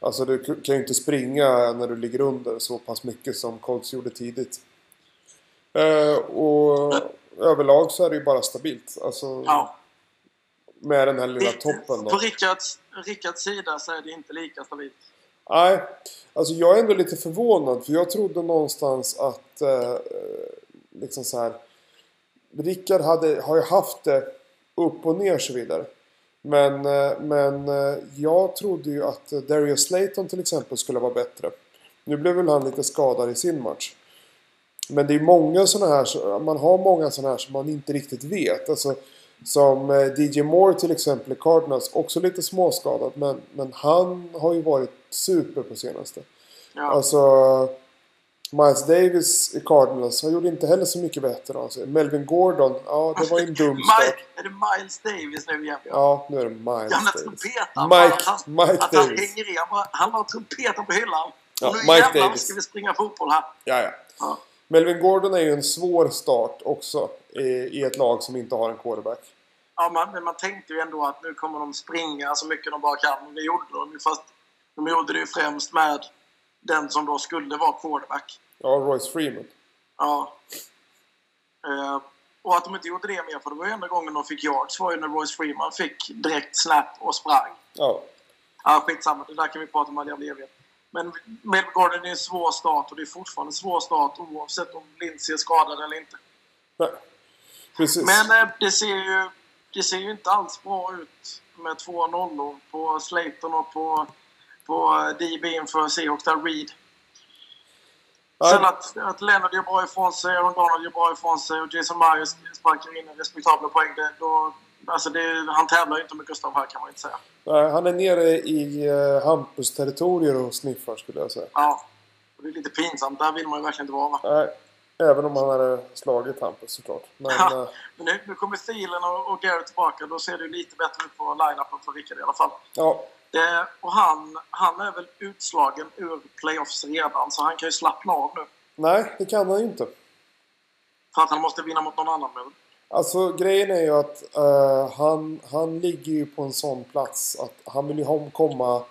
Alltså du k- kan ju inte springa när du ligger under så pass mycket som Colts gjorde tidigt. Eh, och överlag så är det ju bara stabilt. Alltså
Ja.
med den här lilla
Det-
toppen
På
då.
Rickards, Rickards sida så är det inte lika stabilt.
Nej, alltså jag är ändå lite förvånad för jag trodde någonstans att eh, liksom så här. Rickard hade, har ju haft det upp och ner och så vidare. Men, eh, men eh, jag trodde ju att eh, Darius Slayton till exempel skulle vara bättre. Nu blev väl han lite skadad i sin match. Men det är många sådana här, så- man har många sådana här som man inte riktigt vet. Alltså, som eh, DJ Moore till exempel i Cardinals, också lite småskadad men, men han har ju varit super på senaste.
Ja.
Alltså Miles Davis i Cardinals, han gjorde inte heller så mycket bättre. Alltså. Melvin Gordon, ja det var ju en dum
Alltså, Mike,
start.
är det Miles Davis nu igen?
Ja, nu är det Miles
Gamla
Davis.
trumpeten.
Mike,
att han,
Mike
att han
Davis.
hänger i. Han bara- Han har trumpeten på hyllan.
Ja,
nu
Mike
jävlar
Davis.
ska vi springa fotboll här.
Ja, ja.
Ja.
Melvin Gordon är ju en svår start också i, i ett lag som inte har en quarterback.
Ja, man, men man tänkte ju ändå att nu kommer de springa så mycket de bara kan. Och det gjorde de ju, fast de gjorde det ju främst med den som då skulle vara quarterback.
Ja, Royce Freeman.
Ja. Eh, och att de inte gjorde det mer, för det var ju enda gången de fick yards var ju när Royce Freeman fick direkt snap och sprang.
Ja,
Ja, skitsamma. Det där kan vi prata om all jävla evighet. Men Melvin Gordon är en svår start och det är fortfarande en svår start oavsett om Lindsey är skadad eller inte.
nej. Precis.
Men eh, det ser ju, det ser ju inte alls bra ut med två nollor på Slayton och på, på eh, DB inför Seahawks där Reed.
Nej.
Sen att, att Leonard gör bra ifrån sig, Aaron Donald gör bra ifrån sig och Jason Myers sparkar in en respektabel poäng. Det, då, alltså det, han tävlar ju inte med Gustav här kan man ju inte säga.
Nej, han är nere i eh, Hampus territorier och sniffar skulle jag säga.
Ja. Och Det är lite pinsamt. Där vill man ju verkligen inte vara. va?
Nej, även om han hade slagit Hampus såklart. Men
Ja.
eh,
Men nu, nu kommer Thielen och, och Garrett tillbaka. Då ser det ju lite bättre ut på line-upen för Rickard i alla fall.
ja,
Det, Eh, och han, han är väl utslagen ur playoffs redan, så han kan ju slappna av nu.
nej det kan han ju inte.
För att han måste vinna mot någon annan. Men,
Alltså grejen är ju att eh, han, han ligger ju på en sån plats att han vill ju hom- komma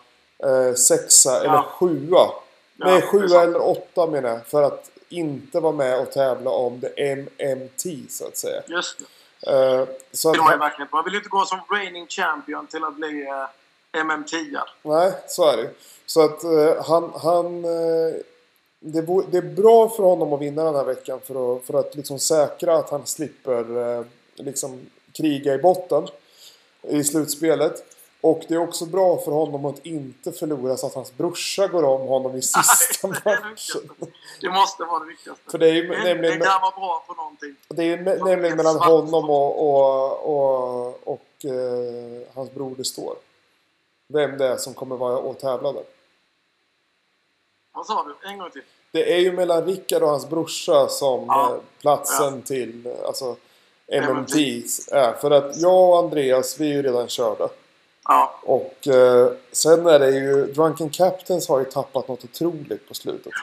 eh, sexa eller sjua. Nej,
det är
sjua
sant.
eller åtta menar jag. För att inte vara med och tävla om det MMT så att säga.
Just det.
Eh, så att
Det var ju
han,
verkligen Man vill ju inte gå som reigning champion till att bli eh, MMT. -ar.
Nej, så är det ju. Så att eh, han... han eh, det, bo- det är bra för honom att vinna den här veckan för att, för att liksom säkra att han slipper eh, liksom kriga i botten i slutspelet. Och det är också bra för honom att inte förlora så att hans brorsa går om honom i sista
Det är det
matchen.
viktigaste. Det måste vara det viktigaste.
För det är ju
en,
nämligen-
en grabbar bra på någonting.
Det är ju me- nämligen mellan honom och, och, och, och eh, hans bror det står. Vem det är som kommer vara och tävla där.
Vad sa du? En gång till.
Det är ju mellan Rickard och hans brorsa som
Ja.
eh, platsen till eh, alltså, MMT
MMT.
är. För att jag och Andreas, vi är ju redan körda.
Ja,
Och eh, sen är det ju... Drunken Captains har ju tappat något otroligt på slutet.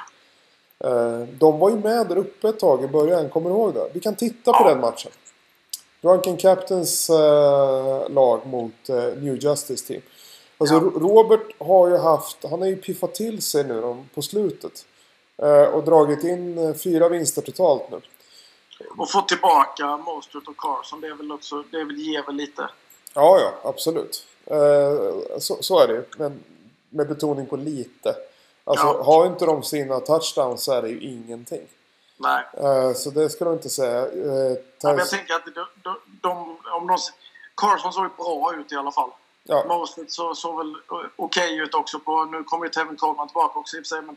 Eh, de var ju med där uppe ett tag i början, kommer du ihåg det? Vi kan titta på
Ja.
den matchen. Drunken Captains eh, lag mot eh, New Justice Team. Alltså
Ja.
Ro- Robert har ju haft, han har ju piffat till sig nu de, på slutet. Eh, och dragit in eh, fyra vinster totalt nu.
och få tillbaka Mostert och Carson. Det, är väl också, det är väl, ger väl lite.
Ja, ja, absolut. Eh, så, så är det ju. Men med betoning på lite. Alltså,
Ja.
har inte de sina touchdowns så är det ju ingenting.
Nej.
Eh, så det ska de inte säga. Eh,
Men jag
Tyson-
tänker att de, de, de, om de, Carson såg ju bra ut i alla fall.
ja,
Mostert så, såg väl eh, okej ut också. På, nu kommer ju Tevin Coleman tillbaka också i och för sig. Men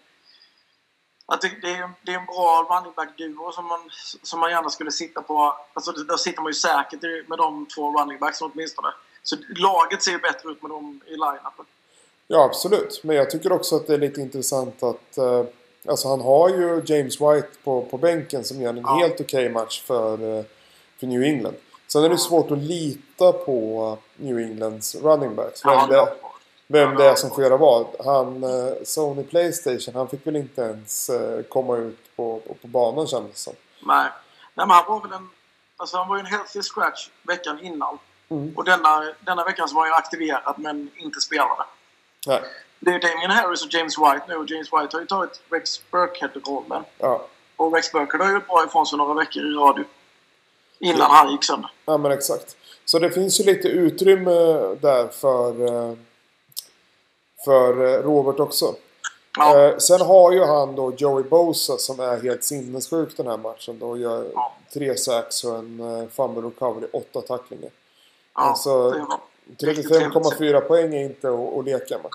att det, det, är, det är en bra running back-duo som man, som man gärna skulle sitta på. Alltså, det- där sitter man ju säkert i- med de två running backs åtminstone. Så laget ser ju bättre ut med dem i line-upen.
ja, absolut. Men jag tycker också att det är lite intressant att eh, alltså, han har ju James White på, på bänken som gör en
Ja.
helt okej match för, eh, för New England. Sen är det svårt att lita på New Englands running backs.
Ja,
Vem
det är
det,
bra.
vem det är som får göra vad. Han, eh, Sony Playstation, han fick väl inte ens eh, komma ut på, på banan kändes det som.
Nej. Nej, men han var väl en... Alltså han var ju en healthy scratch veckan innan.
Mm.
Och denna, denna veckan så var han ju aktiverad men inte spelade.
Nej.
Det är ju Damien Harris och James White nu och James White har ju tagit Rex Burkhead-rollen.
Ja.
Och Rex Burkhead har ju gjort bra ifrån sig några veckor i radio. Innan han gick sönder.
ja, men exakt. Så det finns ju lite utrymme där för, eh, för eh, Robert också.
Ja.
Eh, Sen har ju han då Joey Bosa som är helt sinnessjuk den här matchen då och gör
Ja.
tre sacks och en eh, fumble recovery, åtta tacklingar.
Ja,
alltså,
det var riktigt trevligt att se.
35,4 poäng är inte att, att leka med.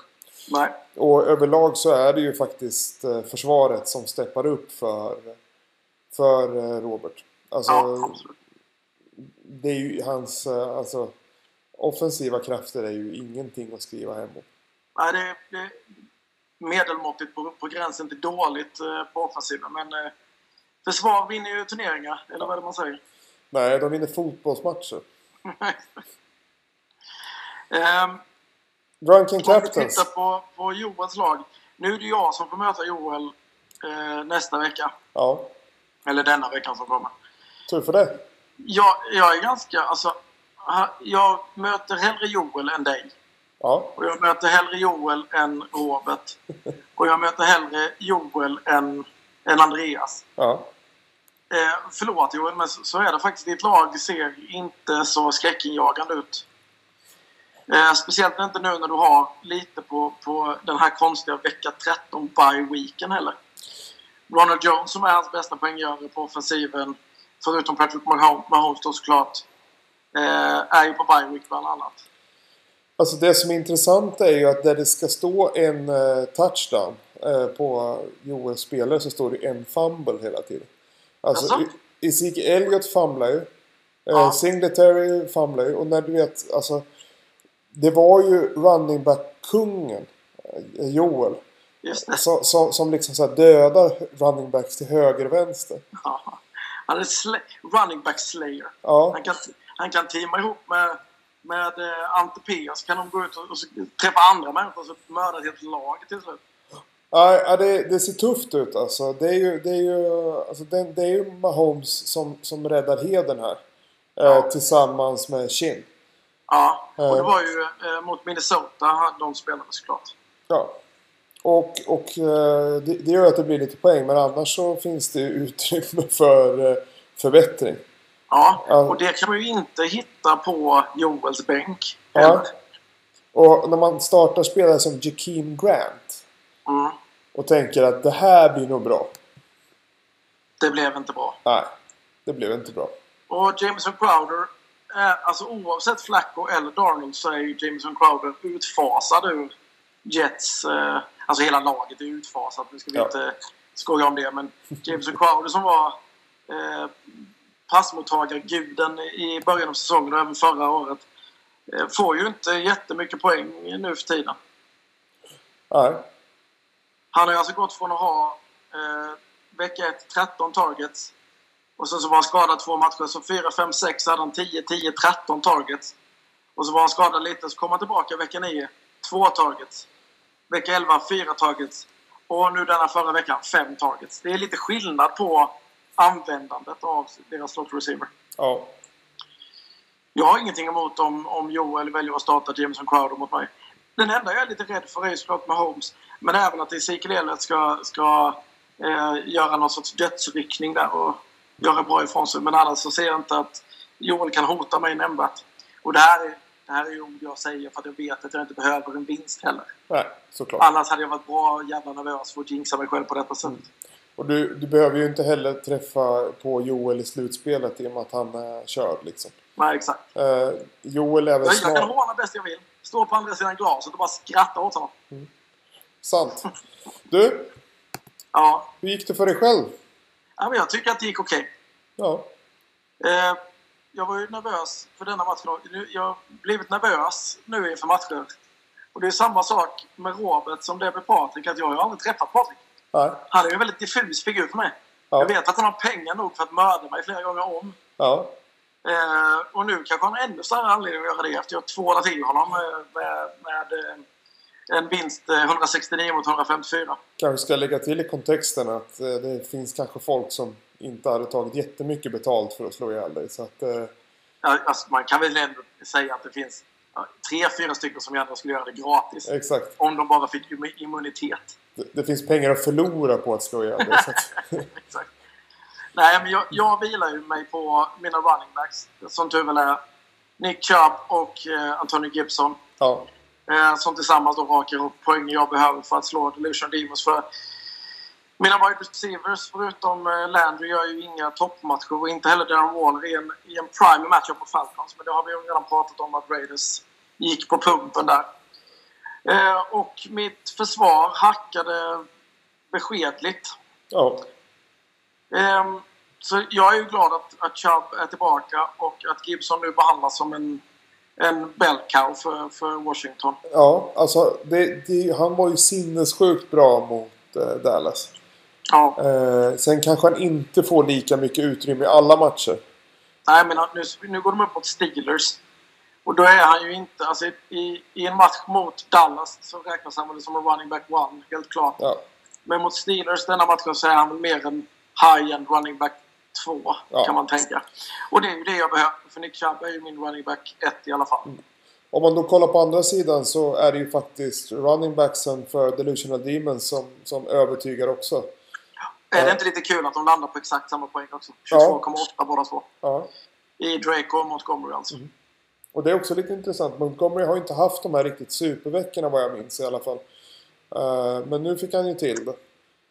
Nej.
Och överlag så är det ju faktiskt eh, försvaret som steppar upp för, för eh, Robert. Alltså,
Ja, absolut.
det är ju hans eh, alltså, offensiva krafter är ju ingenting att skriva hem om.
Nej, det, det är medelmåttigt på, på gränsen till dåligt eh, på offensiven. Men eh, försvar vinner ju turneringar, eller vad är det man säger?
Nej, de vinner fotbollsmatcher.
Ehm,
Drunken
Om vi tittar
Captains.
på, på Joels lag. Nu är det jag som får möta Joel eh, nästa vecka.
Ja,
Eller denna veckan som kommer.
tur för det.
Jag, jag är ganska... Alltså, ha- jag möter hellre Joel än dig.
Ja,
Och jag möter hellre Joel än Robert. Och jag möter hellre Joel än, än Andreas.
ja.
Eh, förlåt Joel, men så, så är det faktiskt. Ditt lag ser inte så skräckinjagande ut. Eh, speciellt inte nu när du har lite på, på den här konstiga vecka 13 by weeken heller. Ronald Jones som är hans bästa poänggörare på offensiven, förutom Patrick Mahom- Mahomes då såklart, eh, är ju på bye week bland annat.
Alltså det som är intressant är ju att där det ska stå en eh, touchdown eh, på Joels spelare så står det en fumble hela tiden. Alltså
Jaså?
I- Ezekiel Elliot famlar ju. Eh,
Ja.
Singletary famlar ju. Och när du vet, alltså. Det var ju running back-kungen eh, Joel.
Just det.
Som, som, som liksom så här dödar running backs till höger och vänster.
Ja. Han är sla- running back slayer.
Ja,
Han kan, han kan teama ihop med, med eh, Ante P. Så kan de gå ut och, och så träffa andra människor så mördar ett helt lag till slut.
Nej, ja, det, det ser tufft ut alltså. Det är ju, det är ju, alltså, det, det är ju Mahomes som, som räddar heden här. Eh, tillsammans med Shin.
Ja, och det
Ja.
var ju eh, mot Minnesota han- de spelade såklart.
Ja. Och, och eh, det, det gör att det blir lite poäng men annars så finns det ju utrymme för eh, förbättring.
Ja,
Ja.
och det kan man ju inte hitta på Joels bänk.
Ja.
heller.
Och när man startar spelare som Jakeem Grant
Mm,
och tänker att det här blir nog bra.
det blev inte bra.
Nej, det blev inte bra.
Och Jameson Crowder, eh, alltså oavsett Flacco eller Darnold så är ju Jameson Crowder utfasad ur Jets. Eh, alltså hela laget är utfasat, nu ska vi
Ja.
inte skoja om det. Men Jameson Crowder som var eh, passmottagarguden i början av säsongen och även förra året eh, får ju inte jättemycket poäng nu för tiden.
Nej.
Han har ju alltså gått från att ha eh, vecka 1 13 targets och sen så var han skadad två matcher. Så 4, 5, 6 hade han 10, 10, 13 targets. Och så var han skadad lite, så kom han tillbaka vecka 9, 2 targets. Vecka 11, 4 targets. Och nu denna förra veckan, 5 targets. Det är lite skillnad på användandet av deras slot receiver.
Ja.
Jag har ingenting emot om, om Joel väljer att starta Jameson Crowder mot mig. Den enda jag är lite rädd för är ju såklart Mahomes. Men även att Ezekiel Elliott ska, ska eh, göra någon sorts dödsryckning där och göra bra ifrån sig. Men annars så ser jag inte att Joel kan hota mig nämnvärt. Och det här, är- det här är ju ord jag säger för att jag vet att jag inte behöver en vinst heller.
Nej, såklart.
Annars hade jag varit bra jävla nervös för att jinxa mig själv på detta sättet.
Och du, du behöver ju inte heller träffa på Joel i slutspelet i och med att han är körd liksom.
Nej, exakt.
Eh, Joel är väl
Jag, jag kan
snar...
håna bäst jag vill. Stå på andra sidan glaset och bara skratta åt honom.
Sant. Du,
Ja.
hur gick det för dig själv?
ja men jag tycker att det gick okej.
Ja.
Eh, jag var ju nervös för denna matchen. Nu- Jag har blivit nervös nu inför matcher. Och det är samma sak med Robert som det är med Patrik. Att jag har ju aldrig träffat Patrik.
Nej.
Han är ju en väldigt diffus figur för mig.
Ja.
Jag vet att han har pengar nog för att mörda mig flera gånger om.
Ja.
Eh, och nu kanske han har ännu större anledning att göra det efter jag tvålat till honom eh, med, med eh, en vinst eh, 169 mot 154.
Kanske ska jag lägga till i kontexten att eh, det finns kanske folk som inte hade tagit jättemycket betalt för att slå ihjäl dig. Så att, eh,
Ja, alltså, man kan väl ändå säga att det finns ja, tre, fyra stycken som gärna skulle göra det gratis.
exakt.
Om de bara fick im- immunitet.
Det, det finns pengar att förlora på att slå ihjäl dig. Så att,
Exakt. Nej, men jag, jag vilar ju mig på mina running backs. Som tur väl är Nick Chubb och eh, Anthony Gibson.
ja.
Eh, som tillsammans då rakar ihop poängen jag behöver för att slå Delusion Demons. För mina wide receivers, förutom eh, Landry, gör ju inga toppmatcher. Och inte heller Darren Waller i en, i en prime matchup mot Falcons. Men det har vi ju redan pratat om att Raiders gick på pumpen där. Eh, och mitt försvar hackade beskedligt.
Ja.
Ehm, så jag är ju glad att, att Chubb är tillbaka och att Gibson nu behandlas som en, en bell cow för, för Washington.
Ja, alltså det, det, han var ju sinnessjukt bra mot eh, Dallas.
Ja.
Eh, sen kanske han inte får lika mycket utrymme i alla matcher.
Nej, men nu, nu går de upp mot Steelers. Och då är han ju inte... Alltså, i, I en match mot Dallas så räknas han väl som en running back one, helt klart.
Ja,
Men mot Steelers denna matchen så är han väl mer en high-end running back två,
Ja.
kan man tänka. Och det är ju det jag behöver, för Nick Chubb är ju min running back ett i alla fall.
Om man då kollar på andra sidan så är det ju faktiskt running backsen för Delusional Demons som, som övertygar också.
Är
Ja.
det inte lite kul att de landar på exakt samma poäng också?
Eh. Ja.
22,8 båda två.
Ja.
I Drake och Montgomery alltså.
Mm. Och det är också lite intressant. Montgomery har ju inte haft de här riktigt superveckorna vad jag minns i alla fall. Eh, men nu fick han ju till det.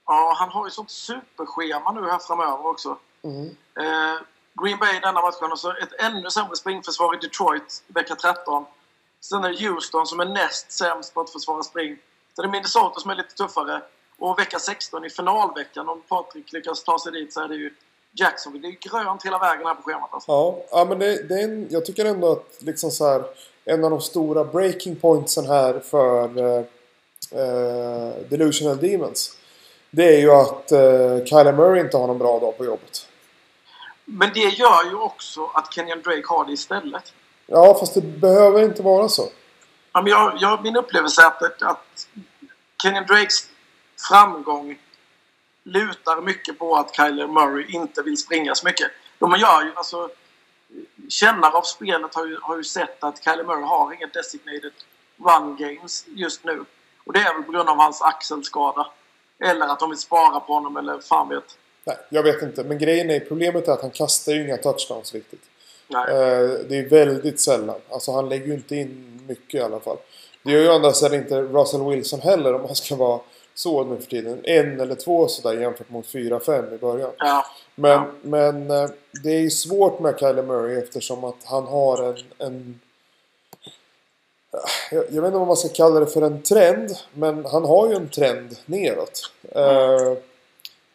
Ja, han har ju sånt superschema nu här framöver också.
Mm.
Eh, Green Bay i denna matchen och så ett ännu sämre springförsvar i Detroit vecka 13. Sen är det Houston som är näst sämst på att försvara spring. Sen är det Minnesota som är lite tuffare. Och vecka 16 i finalveckan, om Patrik lyckas ta sig dit så är det ju Jacksonville. Det är ju grönt hela vägen här på schemat alltså.
Ja, ja men det, det är en, jag tycker ändå att liksom så här, en av de stora breaking pointsen här för eh, eh, Delusional Demons. Det är ju att eh, Kyler Murray inte har någon bra dag på jobbet.
Men det gör ju också att Kenyan Drake har det istället.
Ja, fast det behöver inte vara så.
Ja, men jag, jag, min upplevelse är att, att Kenyon Drakes framgång lutar mycket på att Kyler Murray inte vill springa så mycket. De gör ju, alltså, kännare av spelet har ju, har ju sett att Kyler Murray har inga designated run games just nu. Och det är väl på grund av hans axelskada. Eller att de vill spara på honom eller fan vet.
Nej, jag vet inte. Men grejen är, problemet är att han kastar ju inga touchdowns riktigt.
Nej.
Eh, det är väldigt sällan. Alltså han lägger ju inte in mycket i alla fall. Det gör ju å andra sidan inte Russell Wilson heller om man ska vara så nu för tiden. En eller två sådär jämfört mot fyra, fem i början.
Ja,
Men,
Ja.
men eh, det är ju svårt med Kyler Murray eftersom att han har en... en eh, jag, jag vet inte vad man ska kalla det för en trend. Men han har ju en trend neråt. Eh,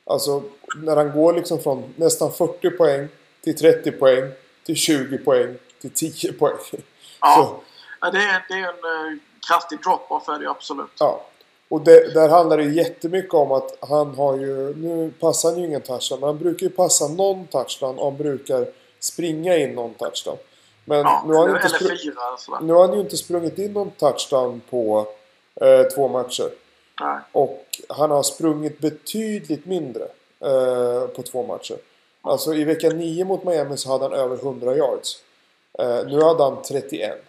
alltså när han går liksom från nästan 40 poäng till 30 poäng till 20 poäng till 10 poäng. Så,
ja. ja det, är, det är en eh, kraftig drop-off är det ju absolut.
ja. Och det, där handlar det ju jättemycket om att han har ju... Nu passar han ju ingen touchdown. Men han brukar ju passa någon touchdown och han brukar springa in någon touchdown. Men
Ja,
nu, har han
eller,
inte
eller
spru-
fyra sådär.
nu har han ju inte sprungit in någon touchdown på eh, två matcher.
Nej.
Och han har sprungit betydligt mindre eh, på två matcher. Alltså i vecka 9 mot Miami så hade han över 100 yards. Eh, nu hade han 31.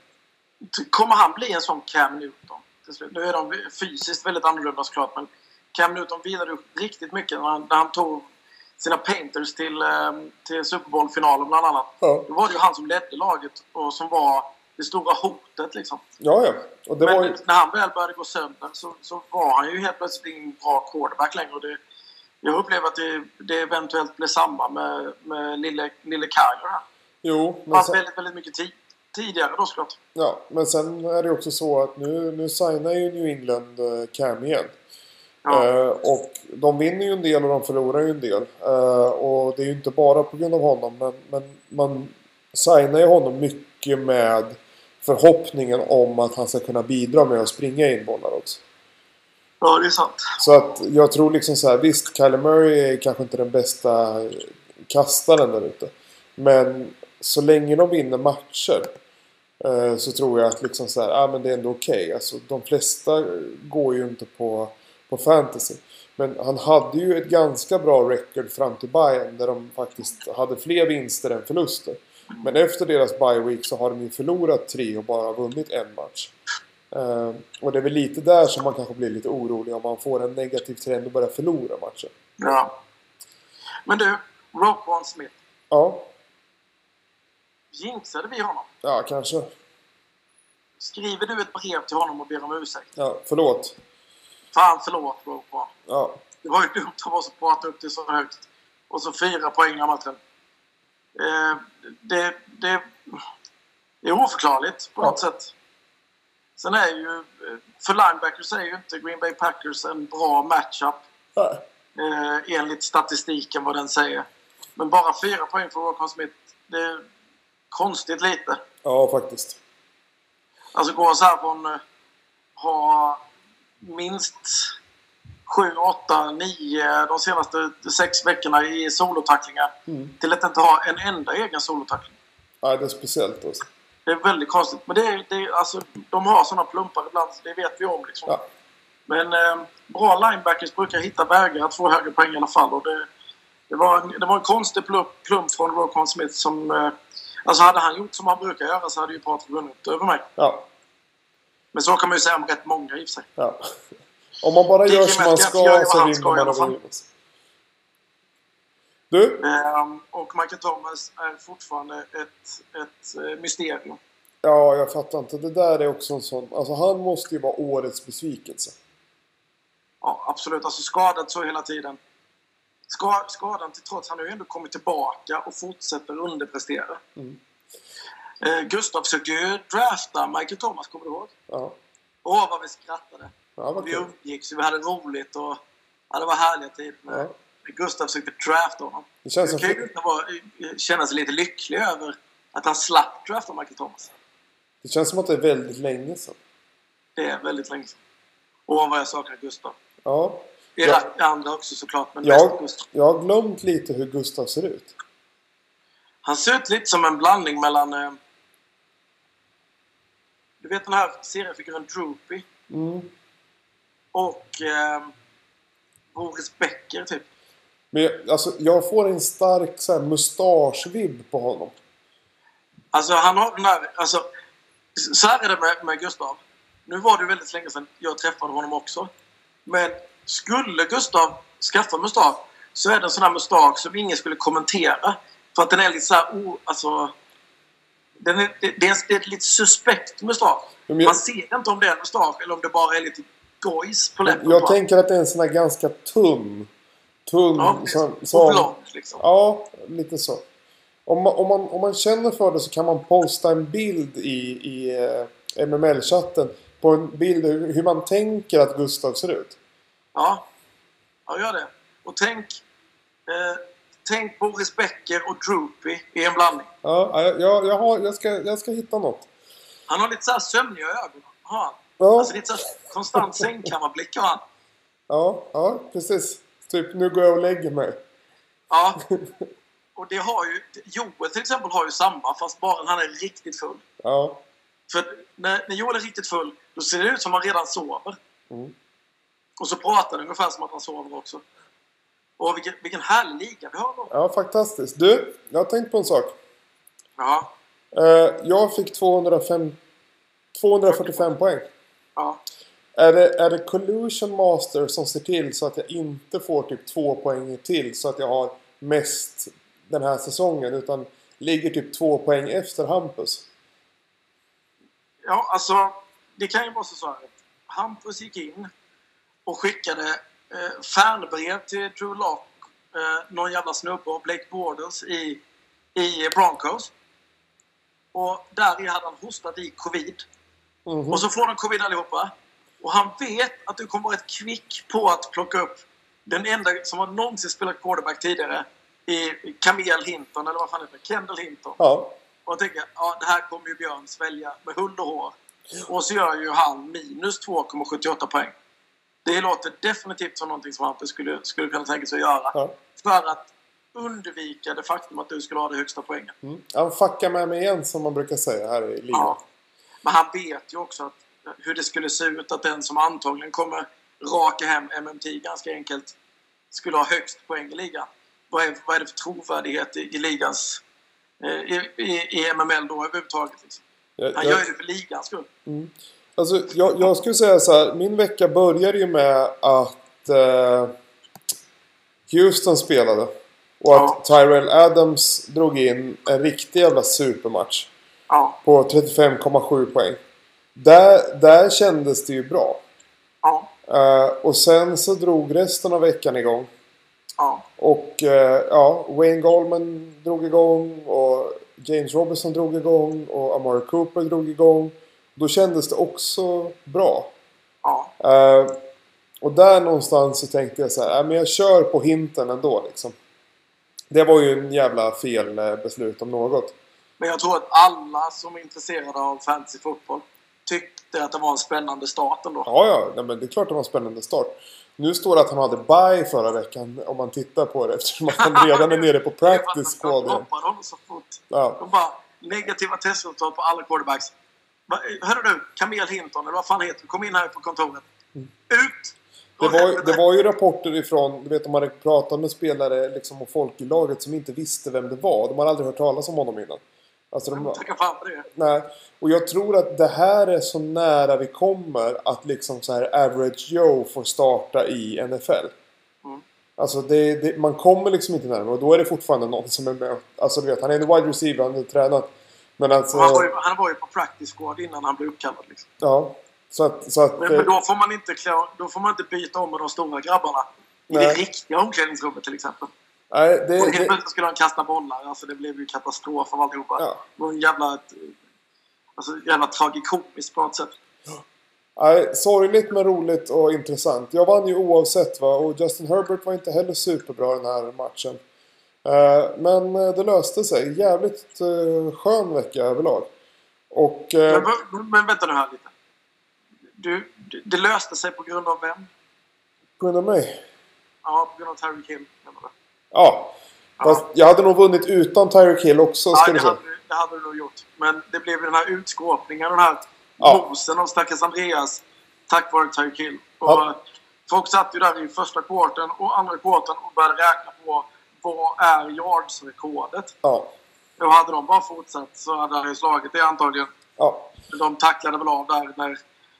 Kommer han bli en sån Cam Newton till slut? Nu är de fysiskt väldigt annorlunda såklart men Cam Newton vilade upp riktigt mycket när han, när han tog sina Painters till, eh, till Super Bowl-finalen bland annat.
Ja.
Då var det ju han som ledde laget och som var det stora hotet liksom.
Ja, ja. Och det
Men
var ju...
när han väl började gå sönder så, så var han ju helt plötsligt ingen bra quarterback längre. Och det, jag upplever att det, det eventuellt blev samma med, med lille, lille Kaiser här.
Jo, men
Fast
sen,
väldigt, väldigt mycket tid, tidigare då såklart.
ja, men sen är det också så att nu, nu signar ju New England eh, Cam igen.
Ja.
Eh, och de vinner ju en del och de förlorar ju en del. Eh, och det är ju inte bara på grund av honom. Men, men man signar ju honom mycket med förhoppningen om att han ska kunna bidra med att springa in bollar också.
ja, det är sant.
Så att jag tror liksom så här, visst, Kyler Murray är kanske inte den bästa kastaren där ute. Men så länge de vinner matcher eh, så tror jag att liksom så här, ah, men det är ändå okej. Alltså, de flesta går ju inte på, på fantasy. Men han hade ju ett ganska bra record fram till Bayern där de faktiskt hade fler vinster än förluster. Men efter deras bye week så har de ju förlorat tre och bara vunnit en match. Eh, och det är väl lite där som man kanske blir lite orolig om man får en negativ trend och börjar förlora matcher.
Ja. Men du, Roquan Smith.
Ja,
Jinxade vi honom?
ja kanske.
Skriver du ett brev till honom och ber om ursäkt?
Ja, förlåt.
Fan förlåt Roquan.
Ja,
Det var ju dumt av oss att prata upp det så högt. Och så fyra poäng i den här matchen. Eh, det, det, det är oförklarligt på något sätt. Sen är ju... eh, För linebackers är ju inte Green Bay Packers en bra matchup
Nej.
eh, enligt statistiken vad den säger. Men bara fyra poäng för Rockon Smith, det är konstigt lite.
ja faktiskt.
Alltså går så här från eh, ha minst 7, 8, 9 de senaste sex veckorna i solotacklingar
Mm.
till att inte ha en enda egen solotackling.
Ja, det är speciellt alltså.
Det är väldigt konstigt. Men det är, det är, alltså, de har sådana plumpar ibland, så det vet vi om. Liksom.
Ja.
Men eh, bra linebackers brukar hitta vägar att få högre poäng i alla fall. Och det, det, var, en, det var en konstig plump, plump från Roquan Smith som... Eh, alltså hade han gjort som han brukar göra så hade ju Patrik vunnit över mig.
Ja,
Men så kan man ju säga om rätt många i och för sig.
ja. Om man bara
Det är
gör
ju
som man
mest jag gör
ska
vad
så
han ska i
vinner man
alla fall.
över huvudet. Du?
Ehm, och Michael Thomas är fortfarande ett, ett eh, mysterium.
Ja, jag fattar inte. Det där är också en sån... Alltså han måste ju vara årets besvikelse.
Ja, absolut. Alltså skadad så hela tiden. Ska, skadan till trots, han har ju ändå kommit tillbaka och fortsätter underprestera.
Mm.
Eh, Gustav försökte ju drafta Michael Thomas, kommer du ihåg?
Ja,
Åh, vad vi skrattade!
ja vad
Vi
kul.
umgicks, vi hade roligt och ja, det var härliga tider.
Ja.
Gustav försökte drafta honom.
Det känns
Nu
som...
kan ju Gustav vara- eh, känna sig lite lycklig över att han slapp drafta Michael Thomas.
Det känns som att det är väldigt länge sedan.
Det är väldigt länge sedan. Och vad jag saknar Gustav.
Ja.
Vi
Ja.
rackar andra också såklart, men mest
Jag,
Gustav.
jag har glömt lite hur Gustav ser ut.
Han ser ut lite som en blandning mellan... Eh, du vet den här seriefiguren Droopy
Mm.
och eh, Boris Becker, typ.
Men jag, alltså, jag får en stark så här, mustaschvibb på honom.
Alltså, han har den där... Alltså, så här är det med, med Gustav. Nu var det väldigt länge sedan jag träffade honom också. Men skulle Gustav skaffa mustasch så är det en sån här mustasch som ingen skulle kommentera. För att den är lite så här... O, alltså, den är, det, det, är, det är ett lite suspekt mustasch.
Men jag-
Man ser inte om det är en mustasch eller om det bara är lite gojs på läppen.
Jag
bara.
tänker att det är en sån här ganska tunn. Tunn.
ja,
som,
som,
som,
blond, liksom.
ja, lite så. Om man, om, man, om man känner för det så kan man posta en bild i, i eh, MML-chatten. På en bild hur, hur man tänker att Gustav ser ut.
Ja. ja, gör det. Och tänk... Eh, tänk Boris Becker och Droopy i en blandning.
Ja, ja, jag, jag, jag, har, jag, ska, jag ska hitta något.
Han har lite så här sömniga ögon. Har han.
Ja,
Alltså lite så här konstant sängkammarblick har han.
ja, ja precis. Typ nu går jag och lägger mig.
Ja. Och det har ju... Joel till exempel har ju samma, fast bara när han är riktigt full.
Ja,
För när, när Joel är riktigt full, då ser det ut som att han redan sover.
Mm.
Och så pratar han ungefär som att han sover också. Och vilken, vilken härlig liga vi har då.
ja fantastiskt. Du, jag har tänkt på en sak.
Ja,
Eh, jag fick 205, 245 poäng.
ja.
Är det, är det Collusion Master som ser till så att jag inte får typ två poäng till så att jag har mest den här säsongen utan ligger typ två poäng efter Hampus?
Ja, alltså, det kan ju vara så här att Hampus gick in och skickade eh, fanbrev till Drew Lock, eh, någon jävla snubbe och Blake Borders i, i Broncos. Och där i hade han hostat i covid.
Mhm.
Och så får de covid allihopa. Och han vet att du kommer vara ett kvick på att plocka upp den enda som har någonsin spelat quarterback tidigare i Camille Hinton, eller vad fan heter det? Kendall Hinton.
Ja.
Och jag tänker, ja det här kommer ju Björn svälja med hull och hår. Och så gör ju han minus 2,78 poäng. Det låter definitivt som någonting som Hampus skulle, skulle kunna tänka sig att göra.
Ja.
För att undvika det faktum att du skulle ha det högsta poängen.
Mm. Han fuckar med mig igen som man brukar säga här i livet.
Ja. Men han vet ju också att, hur det skulle se ut att den som antagligen kommer raka hem MMT ganska enkelt skulle ha högst poäng i ligan. Vad är, vad är det för trovärdighet i, i ligans... eh, I, i, i MML då överhuvudtaget? Liksom?
Jag, jag,
Han gör ju det för ligans skull.
alltså, jag, jag skulle säga så här. Min vecka började ju med att eh, Houston spelade. Och
Ja.
att Tyrell Adams drog in en riktig jävla supermatch.
Ja,
På 35,7 poäng. Där, där kändes det ju bra.
ja,
Eh, och sen så drog resten av veckan igång.
ja.
Och eh, ja, Wayne Gallman drog igång och James Robinson drog igång och Amari Cooper drog igång. Då kändes det också bra.
ja.
Eh, och där någonstans så tänkte jag så här, "Nej, men jag kör på hinten ändå liksom. Det var ju en jävla fel eh, beslut om något.
Men jag tror att alla som är intresserade av fantasyfotboll tyckte att det var en spännande start ändå.
Ja, ja, nej, men det är klart det var en spännande start. Nu står det att han hade bye förra veckan om man tittar på det eftersom att han redan är nere på practice squad igen.
Hoppade honom så fort.
Ja,
De bara negativa testresultat på alla quarterbacks. Va- Hörru du, Camille Hinton, eller vad fan heter du? Kom in här på kontoret. Ut!
Mm. det, var, ju- det var ju rapporter ifrån, du vet de hade pratat med spelare liksom, och folk i laget som inte visste vem det var. De hade aldrig hört talas om honom innan. Alltså, de,
Tacka fan för det.
Nej, och jag tror att det här är så nära vi kommer att liksom så här average Joe får starta i NFL.
Mm.
Alltså det, det, man kommer liksom inte närmare och då är det fortfarande någon som är med. Alltså du vet, han är en wide receiver, han är tränat. Men alltså,
Han var, ju, han var ju på practice squad innan han blev uppkallad. Liksom.
ja. Så att, så att, eh,
Men, men då, får man inte klä, då får man inte byta om med de stora grabbarna. I
Nej.
det riktiga omklädningsrummet till exempel.
nej, Eh, det,
Och helt
det,
plötsligt skulle han kasta bollar. Alltså det blev ju katastrof av alltihopa.
Ja.
Det var en jävla... ett- Alltså jävla tragikomiskt på något sätt.
nej, sorgligt men roligt och intressant. Jag vann ju oavsett va och Justin Herbert var inte heller superbra den här matchen. Eh, men eh, det löste sig. Jävligt eh, skön vecka överlag. Och... eh,
Men, men, men vänta nu här lite. Du, det- det löste sig på grund av vem?
På grund av mig?
Ja, på grund av Tyreek Hill. menar du?
Ja. Fast jag hade nog vunnit utan Tyreek Hill också,
Ja,
ska
det
du säga.
hade, du- det hade du nog gjort. Men det blev ju den här utskåpningen, den här
Ja.
mosen av stackars Andreas tack vare Tyreek Hill. Och eh,
Ja.
Folk satt ju där i första kvarten och andra kvarten och började räkna på vad är yards-rekordet?
Ja.
Och hade de bara fortsatt så hade han ju slagit det antagligen.
ja.
Men De tacklade väl av där när,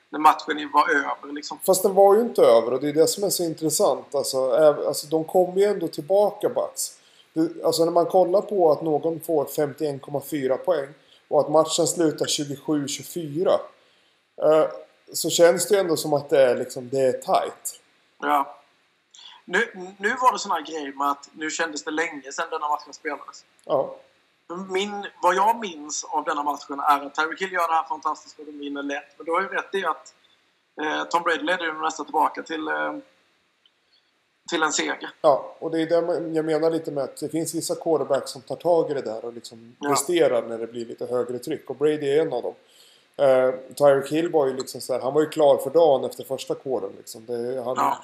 när matchen var över liksom.
Fast den var ju inte över och det är det som är så intressant. Alltså, äv- alltså de kommer ju ändå tillbaka, Bucks. Det- Alltså när man kollar på att någon får 51,4 poäng och att matchen slutar 27-24. eh, Så känns det ju ändå som att det är liksom, det är tight.
Ja. Nu, nu var det sån här grej med att nu kändes det länge sedan denna matchen spelades.
Ja.
Min, vad jag minns av denna matchen är att Tyreek Hill gör det här fantastiskt och de vinner lätt. Men du har ju rätt i att eh, Tom Brady ledde ju nästan tillbaka till, eh, till en seger.
Ja, och det är det man- jag menar lite med att det finns vissa quarterbacks som tar tag i det där och liksom
Ja.
presterar när det blir lite högre tryck. Och Brady är en av dem. Uh, Tyreek Hill var ju liksom så här, han var ju klar för dagen efter första kåren liksom. Det, är- han,
Ja,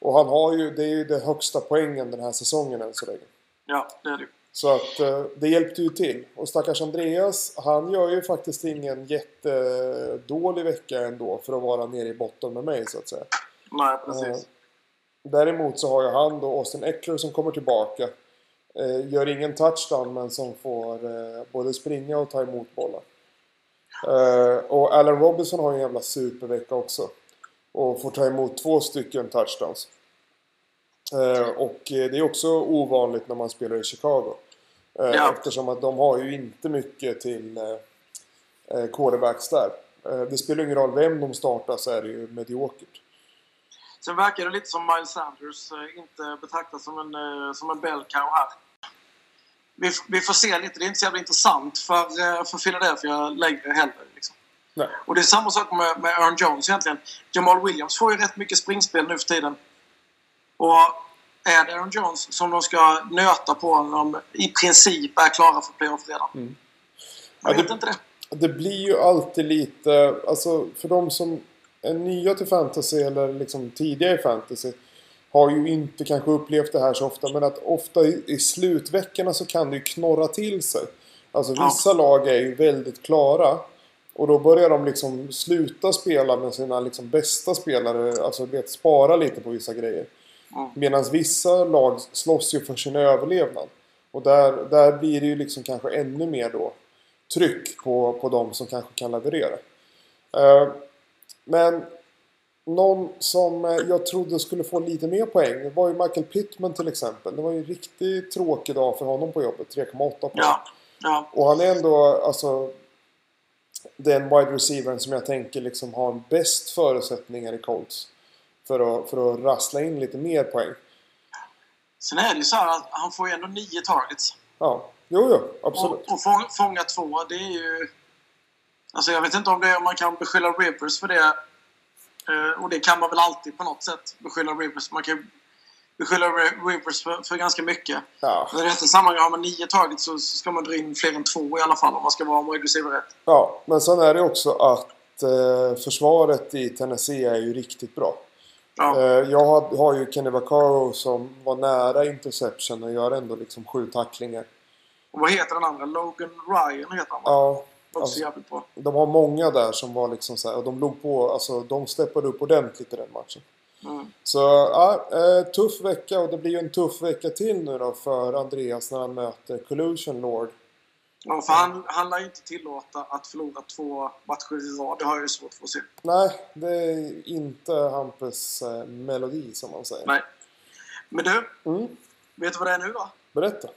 Och han har ju, det är ju den högsta poängen den här säsongen än så länge.
ja det är det ju.
Så att eh, det hjälpte ju till. Och stackars Andreas, han gör ju faktiskt ingen jättedålig vecka ändå för att vara nere i botten med mig så att säga.
Nej, precis.
Däremot så har ju han då Austin Eckler som kommer tillbaka. Eh, gör ingen touchdown men som får eh, både springa och ta emot bollar. Eh, och Allen Robinson har ju en jävla supervecka också. Och får ta emot två stycken touchdowns. Eh, och eh, det är också ovanligt när man spelar i Chicago. Eh,
Ja.
Eftersom att de har ju inte mycket till eh, eh, quarterbacks där. Eh, det spelar ingen roll vem de startar så är det ju mediokert.
Sen verkar det lite som Miles Sanders eh, inte betraktas som en, eh, som en bell cow här. Vi, f- vi får se lite. Det är inte så jävla intressant för, eh, för Philadelphia längre heller. Liksom.
Nej.
Och det är samma sak med, med Aaron Jones egentligen. Jamal Williams får ju rätt mycket springspel nu för tiden. Och är det Aaron Jones som de ska nöta på när de i princip är klara för playoff redan? Jag
Mm. Ja, det-
vet inte det.
Det blir ju alltid lite, alltså för de som är nya till fantasy eller liksom tidiga i fantasy har ju inte kanske upplevt det här så ofta men att ofta i, i slutveckorna så kan det ju knorra till sig. Alltså
Ja.
vissa lag är ju väldigt klara och då börjar de liksom sluta spela med sina liksom bästa spelare, alltså du vet spara lite på vissa grejer.
Mm.
Medan vissa lag slåss ju för sin överlevnad. Och där, där blir det ju liksom kanske ännu mer då tryck på, på de som kanske kan leverera. Eh, men någon som eh, jag trodde skulle få lite mer poäng det var ju Michael Pittman till exempel. Det var ju en riktigt tråkig dag för honom på jobbet, 3,8 poäng.
Ja. Ja.
Och han är ändå alltså den wide receivern som jag tänker liksom har bäst förutsättningar i Colts. För att, för att rassla in lite mer poäng.
Sen är det ju så här att han får ju ändå nio targets.
Ja, jo, jo, absolut.
Och, och få, fånga två, det är ju... Alltså jag vet inte om, det, om man kan beskylla Rivers för det. Eh, och det kan man väl alltid på något sätt beskylla Rivers. Man kan ju beskylla Ri- Rivers för, för ganska mycket.
Ja,
Men i detta sammanhang, har man nio taget så, så ska man dra in fler än två i alla fall om man ska vara aggressiv rätt.
ja, men sen är det också att eh, försvaret i Tennessee är ju riktigt bra.
Ja.
Eh, jag har, har ju Kenny Vaccaro som var nära interception och gör ändå liksom sju tacklingar.
Och vad heter den andra? Logan Ryan heter han va?
Ja,
Också
alltså-
jävligt bra.
de har många där som var liksom så här, och de låg på, alltså de steppade upp ordentligt i den matchen.
Mm.
Så ja, eh, tuff vecka och det blir ju en tuff vecka till nu då för Andreas när han möter Collusion Lord.
Ja, för han, han lär ju inte tillåta att förlora två matcher i rad. Det har jag ju svårt för att se.
Nej, det är inte Hampus eh, melodi som man säger.
Nej. Men du,
Mm,
vet du vad det är nu då?
berätta.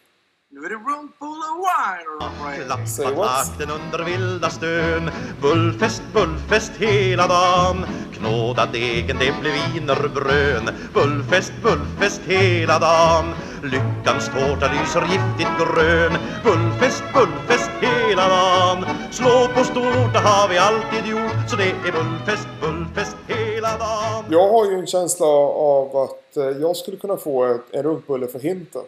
Nu är det Rumpool och Wine
Säg
Klappat
what?
vakten under vilda stön Bullfest, bullfest hela dagen Knåda degen, det blev wienerbrön Bullfest, bullfest hela dagen Lyckans tårta lyser giftigt grön Bullfest, bullfest hela dagen Slå på stort, det har vi alltid gjort Så det är bullfest, bullfest hela dagen
Jag har ju en känsla av att eh, jag skulle kunna få ett- en rumpbulle för hinten.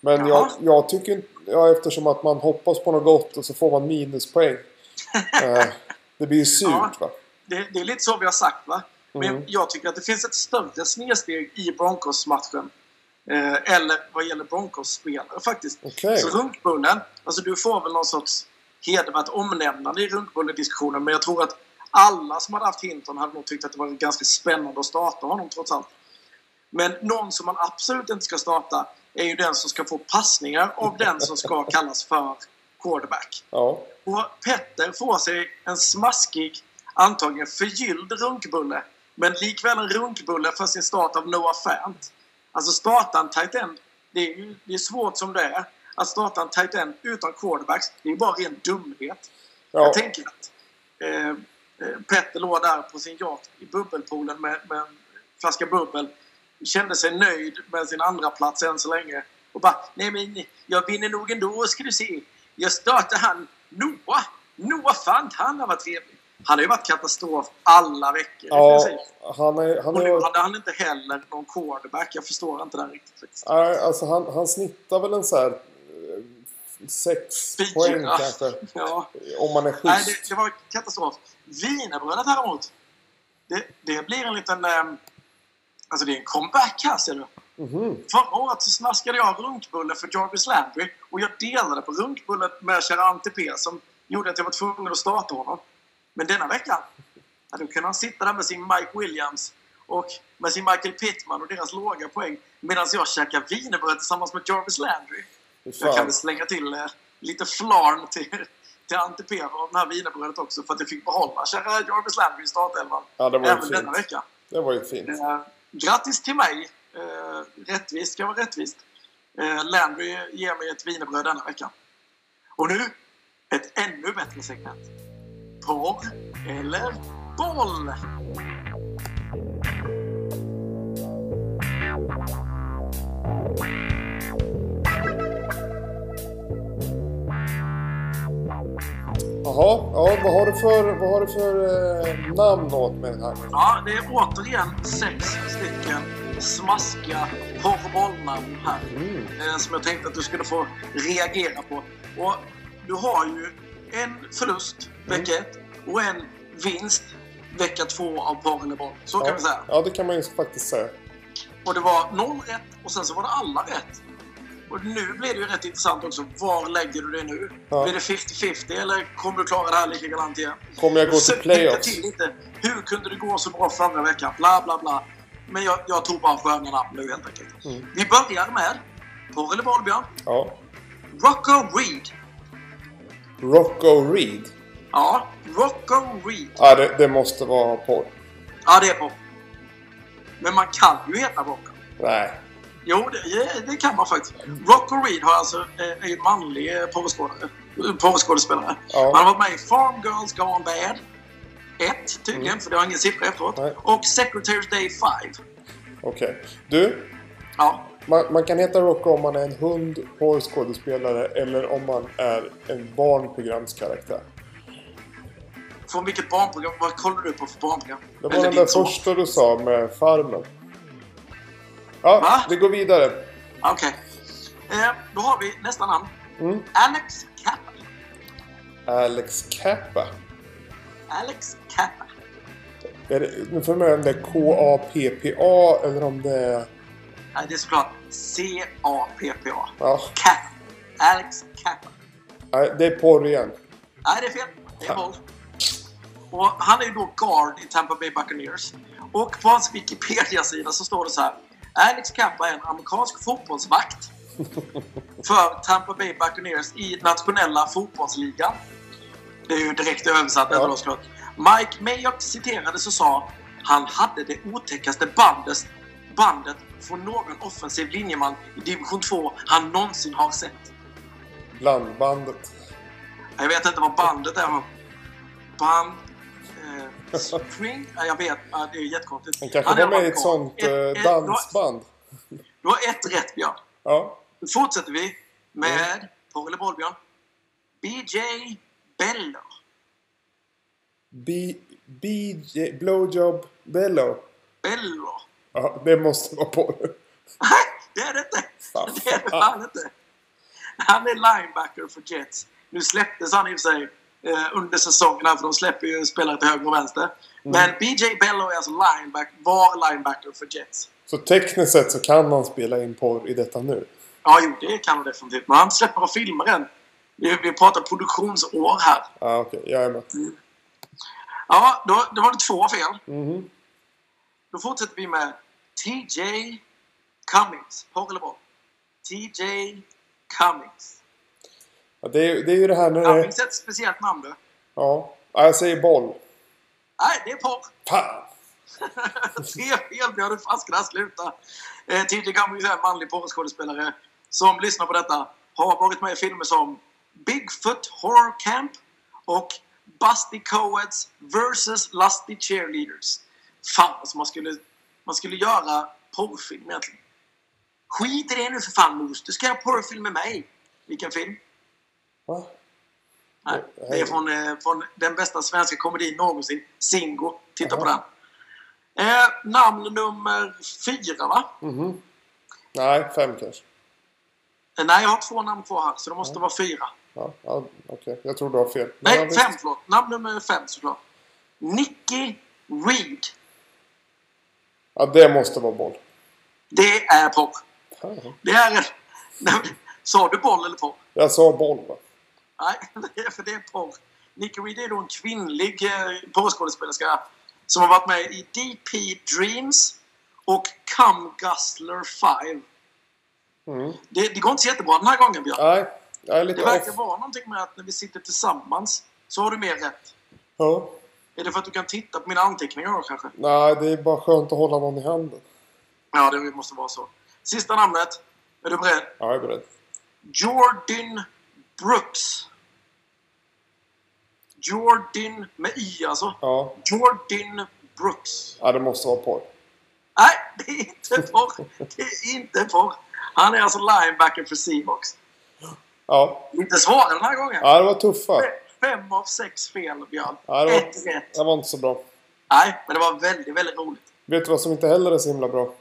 Men jag,
Jaha.
jag tycker inte... Ja, eftersom att man hoppas på något gott och så får man minuspoäng. Eh, det blir ju surt va?
det, det är lite så vi har sagt va? Men
Mm.
jag tycker att det finns ett större snedsteg i Broncos-matchen. Eh, eller vad gäller Broncos-spelare faktiskt.
Okej.
Så runkbullen, alltså du får väl någon sorts hedervärt omnämnande i runkbullediskussionen. Men jag tror att alla som hade haft Hinton hade nog tyckt att det var ganska spännande att starta honom trots allt. Men någon som man absolut inte ska starta är ju den som ska få passningar av den som ska kallas för quarterback.
Ja.
Och Petter får sig en smaskig, antagligen förgylld runkbulle. Men likväl en runkbulle för sin start av Noah Fant. Alltså starta en tight end, det är, ju, det är svårt som det är. Att starta en tight end utan quarterbacks, det är ju bara ren dumhet.
Ja,
Jag tänker att eh, eh, Petter låg där på sin yacht i bubbelpoolen med, med en flaska bubbel. Kände sig nöjd med sin andra plats än så länge. Och bara, nej men jag vinner nog ändå ska du se. Jag startar han Noah. Noah Fant, han har varit trevlig. Han har ju varit katastrof alla veckor i
ja
princip.
han är... Han
Och nu
är
hade han inte heller någon quarterback. Jag förstår inte det här riktigt. faktiskt.
nej, alltså han, han snittar väl en så här... eh, Sex
Fyra.
poäng kanske.
Ja.
Om man är
Nej,
schysst.
det, det var katastrof. Wienerbrödet häremot. Det, det blir en liten... ehm, alltså det är en comeback här ser du.
Mhm.
Förra året så snaskade jag runkbulle för Jarvis Landry och jag delade på runkbullen med kära Ante P som gjorde att jag var tvungen att starta honom. Men denna vecka, ja, då kunde han sitta där med sin Mike Williams och med sin Michael Pittman och deras låga poäng medan jag käkar wienerbröd tillsammans med Jarvis Landry.
Fy
Jag kan
Fan.
väl slänga till eh, lite flarn till, till Ante P av det här wienerbrödet också för att jag fick behålla kära Jarvis Landry i startelvan
Ja, det var ju
även denna
fint.
vecka.
Det var ju fint.
Eh, grattis till mig! Eh, rättvist ska vara rättvist. Eh, Landry ger mig ett wienerbröd denna vecka. Och nu, ett ännu bättre segment. porr eller boll?
Jaha, ja, vad har du för, vad har du för eh, namn åt med den här?
Ja, det är återigen sex stycken smaskiga porrbollnamn här. eh, Som jag tänkte att du skulle få reagera på. Och du har ju en förlust
Mm.
vecka ett och en vinst vecka två av porr eller boll. Så kan vi säga.
Ja, det kan man ju faktiskt säga.
Och det var noll rätt och sen så var det alla rätt. Och nu blir det ju rätt intressant också. Var lägger du dig nu?
Ja.
Blir det 50-50 eller kommer du klara det här lika galant igen?
Kommer jag gå till
Försök tänka
playoffs?
till lite. Hur kunde det gå så bra förra veckan? Bla, bla, bla. Men jag, jag tog bara sköna namn nu helt enkelt.
Mm.
Vi börjar med, porr eller boll, Björn?
Ja.
Rocco Reed.
Rocco Reed.
Ja, Rocco Reed.
Ja, det, det måste vara porr.
Ja, det är på. Men man kan ju heta Rocco.
Nej.
Jo, det, det kan man faktiskt. Rocco Reed har alltså, eh, är ju manlig eh, porrskådare- porrskådespelare.
Ja.
Han har varit med i Farm Girls Gone Bad 1 tydligen, för det har ingen siffra efteråt.
Mm. Nej.
Och Secretary's Day 5.
Okej. Du,
Ja,
man, man kan heta Rocco om man är en hund, porrskådespelare eller om man är en barnprogramskaraktär.
från vilket barnprogram? Vad kollar du på för barnprogram?
Det var
Eller
den
din
där
son?
första du sa med Farmen. Ja,
Va?
det går vidare.
Ja, Okej. Eh, då har vi nästa namn.
Mm.
Alex Kappa.
Alex Kappa.
Alex Kappa.
Är det, nu får jag med om det är K-A-P-P-A eller om det är...
Nej, det är såklart C-A-P-P-A.
Ja,
Kappa. Alex Kappa.
nej, det är porr igen.
Nej, det är fel. Det är boll. Och han är ju då guard i Tampa Bay Buccaneers. Och på hans Wikipedia-sida så står det så här. Alex Kappa är en amerikansk fotbollsvakt för Tampa Bay Buccaneers i nationella fotbollsligan. Det är ju direkt översatt.
Ja.
Ja. Då, såklart. Mike Mayock citerades och sa han hade det otäckaste bandet, bandet från någon offensiv linjeman i division 2 han någonsin har sett.
Blandbandet.
Jag vet inte vad bandet är. men Band... Eh, spring? Ja, jag vet. Ja, det är jättekonstigt.
Han kanske var med i ett sånt eh,
dansband.
dansband.
Du har ett rätt, Björn.
Ja.
Nu fortsätter vi med porr eller boll, Björn. BJ Bello.
B, BJ, Blowjob Bello.
Bello.
Ja, det måste vara porr.
Nej, det är det inte.
Fan.
Det är det fan inte. Han är linebacker för Jets. Nu släpptes han i och för sig eh, under säsongen här, för de släpper ju spelare till höger och vänster.
Mm.
Men BJ Bello är alltså linebacker, var linebacker för Jets.
Så tekniskt sett så kan han spela in porr i detta nu.
Ja, jo, det kan han definitivt. Men han släpper av filmer än. Vi, vi pratar produktionsår här.
Ja, okej. Jag är med.
Ja, då, då var det två fel.
Mhm.
Då fortsätter vi med TJ Cummings. Porr eller boll? TJ Cummings.
Ja, det, är, det är ju det här när det...
Cummings är ett speciellt namn du.
Ja. ja, jag säger boll.
Nej, det är porr.
Fan!
Tre fel, Björn. Du fan ska det här sluta? Eh, TJ Cummings är en manlig porrskådespelare som lyssnar på detta. Har varit med i filmer som Bigfoot Horror Camp och Busty Coeds vs Lusty Cheerleaders. Fan, alltså man skulle, man skulle göra porrfilm egentligen. Skit i det nu för fan, Mos. Du ska göra porrfilm med mig. Vilken film?
Va?
Nej, det är från, eh, från den bästa svenska komedin någonsin, Singo. Titta på den. Eh, namn nummer fyra, va?
Mhm. Nej, fem kanske.
Eh, nej, jag har två namn kvar här, så det måste vara fyra.
Ja, ja okej. Jag tror du har fel. Men ja,
Nej,
visst.
fem, förlåt. Namn nummer fem, såklart. Nicky Reed.
Ja, det måste vara boll.
Det är porr.
Fan.
Det är en... Nej, men- Sa du boll eller porr?
Jag sa boll, va?
Nej, det är- för det är porr. Nicky Reed är då en kvinnlig eh, porrskådespelerska som har varit med i DP Dreams och Come Guzzler 5.
Mm.
Det, det går inte så jättebra den här gången, Björn.
Nej, jag är lite
Det verkar
off.
vara någonting med att när vi sitter tillsammans så har du mer rätt.
Ja.
Är det för att du kan titta på mina anteckningar då kanske?
Nej, det är bara skönt att hålla någon i handen.
Ja, det måste vara så. Sista namnet. Är du beredd?
Ja, jag är beredd.
Jordan Brooks. Jordan med i alltså.
Ja.
Jordan Brooks.
ja, det måste vara porr.
Nej, det är inte porr. Det är inte porr. Han är alltså linebacker för Seahawks.
Ja.
Inte svårare den här gången.
ja, det var tuffa.
Fem av sex fel, Björn.
Ja, det var-
Ett rätt.
Det var inte så bra.
Nej, men det var väldigt, väldigt roligt.
Vet du vad som inte heller är så himla bra?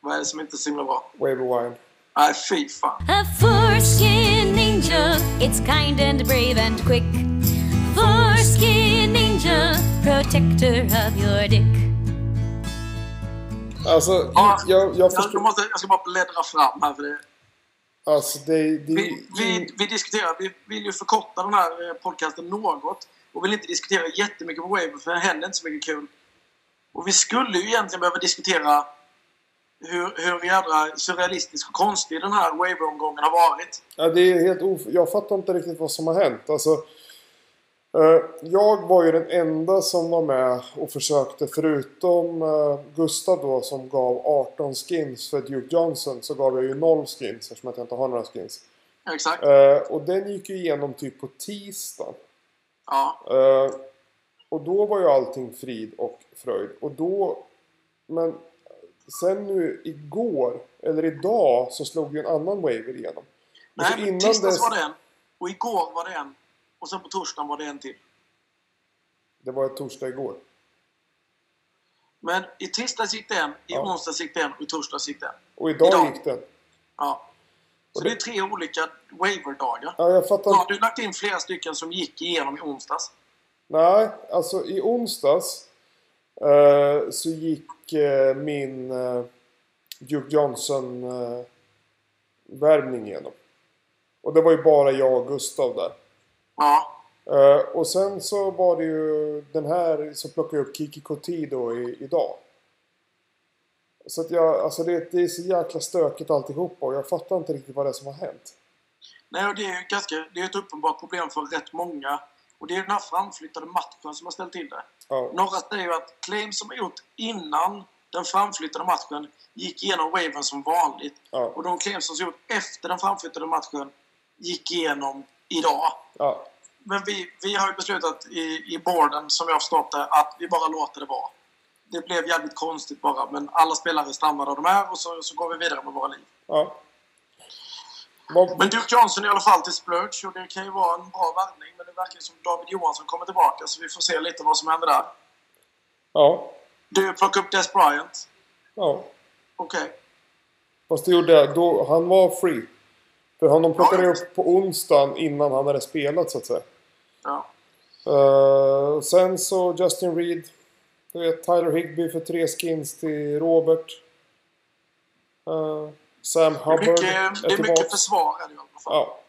Vad är det som inte är så himla bra?
Waiver Wine.
Nej, fy fan.
A foreskin ninja, it's kind and brave and quick. Foreskin ninja, protector of your dick.
Alltså,
Ja,
jag, jag
Jag, jag,
förstår...
måste, jag ska bara bläddra fram här för det.
Alltså, det, det,
Vi, vi, vi diskuterar, vi vill ju förkorta den här eh, podcasten något och vill inte diskutera jättemycket på Wave för det händer inte så mycket kul. Och vi skulle ju egentligen behöva diskutera hur, hur jävla surrealistisk och konstig den här Wave-omgången har varit.
Ja, det är helt of... Jag fattar inte riktigt vad som har hänt. Alltså, eh, jag var ju den enda som var med och försökte, förutom eh, Gustav då som gav 18 skins för Duke Johnson, så gav jag ju 0 skins eftersom att jag inte har några skins.
Exakt.
Eh, och den gick ju igenom typ på tisdag.
Ja.
Eh, och då var ju allting frid och fröjd. Och då... Men sen nu igår, eller idag, så slog ju en annan waiver igenom. Och så
Nej, men
Alltså, innan
tisdags
dess-
var det en och igår var det en och sen på torsdagen var det en till.
Det var ett torsdag igår.
Men i tisdags gick det en, i
Ja.
onsdags gick det en och i torsdags gick det en.
Och idag,
Idag.
gick den.
Ja. Så
Och
det...
det-
är tre olika waiver-dagar.
Ja, jag fattar
Då har
inte.
du lagt in flera stycken som gick igenom i onsdags.
Nej, alltså i onsdags eh, så gick eh, min eh, Duke Johnson-värvning igenom. Och det var ju bara jag och Gustav där.
Ja.
Eh, och sen så var det ju den här som plockade upp Kiki Koti då i, idag. Så att jag, alltså det, det är så jäkla stökigt alltihopa och jag fattar inte riktigt vad det är som har hänt.
Nej, och det är ju ganska, det är ett uppenbart problem för rätt många. Och det är den här framflyttade matchen som har ställt till det.
Ja,
Några säger ju att claims som är gjort innan den framflyttade matchen gick igenom waven som vanligt.
ja,
Och de claims som är gjort efter den framflyttade matchen gick igenom idag.
ja,
Men vi, vi har ju beslutat i, i boarden, som jag har förstått det, att vi bara låter det vara. Det blev jävligt konstigt bara, men alla spelare stammar där de är och så, så går vi vidare med våra liv.
ja. Vad-
Men Duke Johnson i alla fall till Splurge och det kan ju vara en bra värvning. Men det verkar ju som David Johansson kommer tillbaka så vi får se lite vad som händer där.
Ja,
Du, plockar upp Des Bryant.
ja.
Okej.
Fast det gjorde jag. Då, han var free. För honom plockade jag upp på onsdagen innan han hade spelat så att säga.
Ja.
Eh, sen så Justin Reed. Du vet Tyler Higby för tre skins till Robert. Eh, Sam
Det är
Hubbard
mycket, det är mycket
tillbaka.
försvar här i alla fall.
Ja,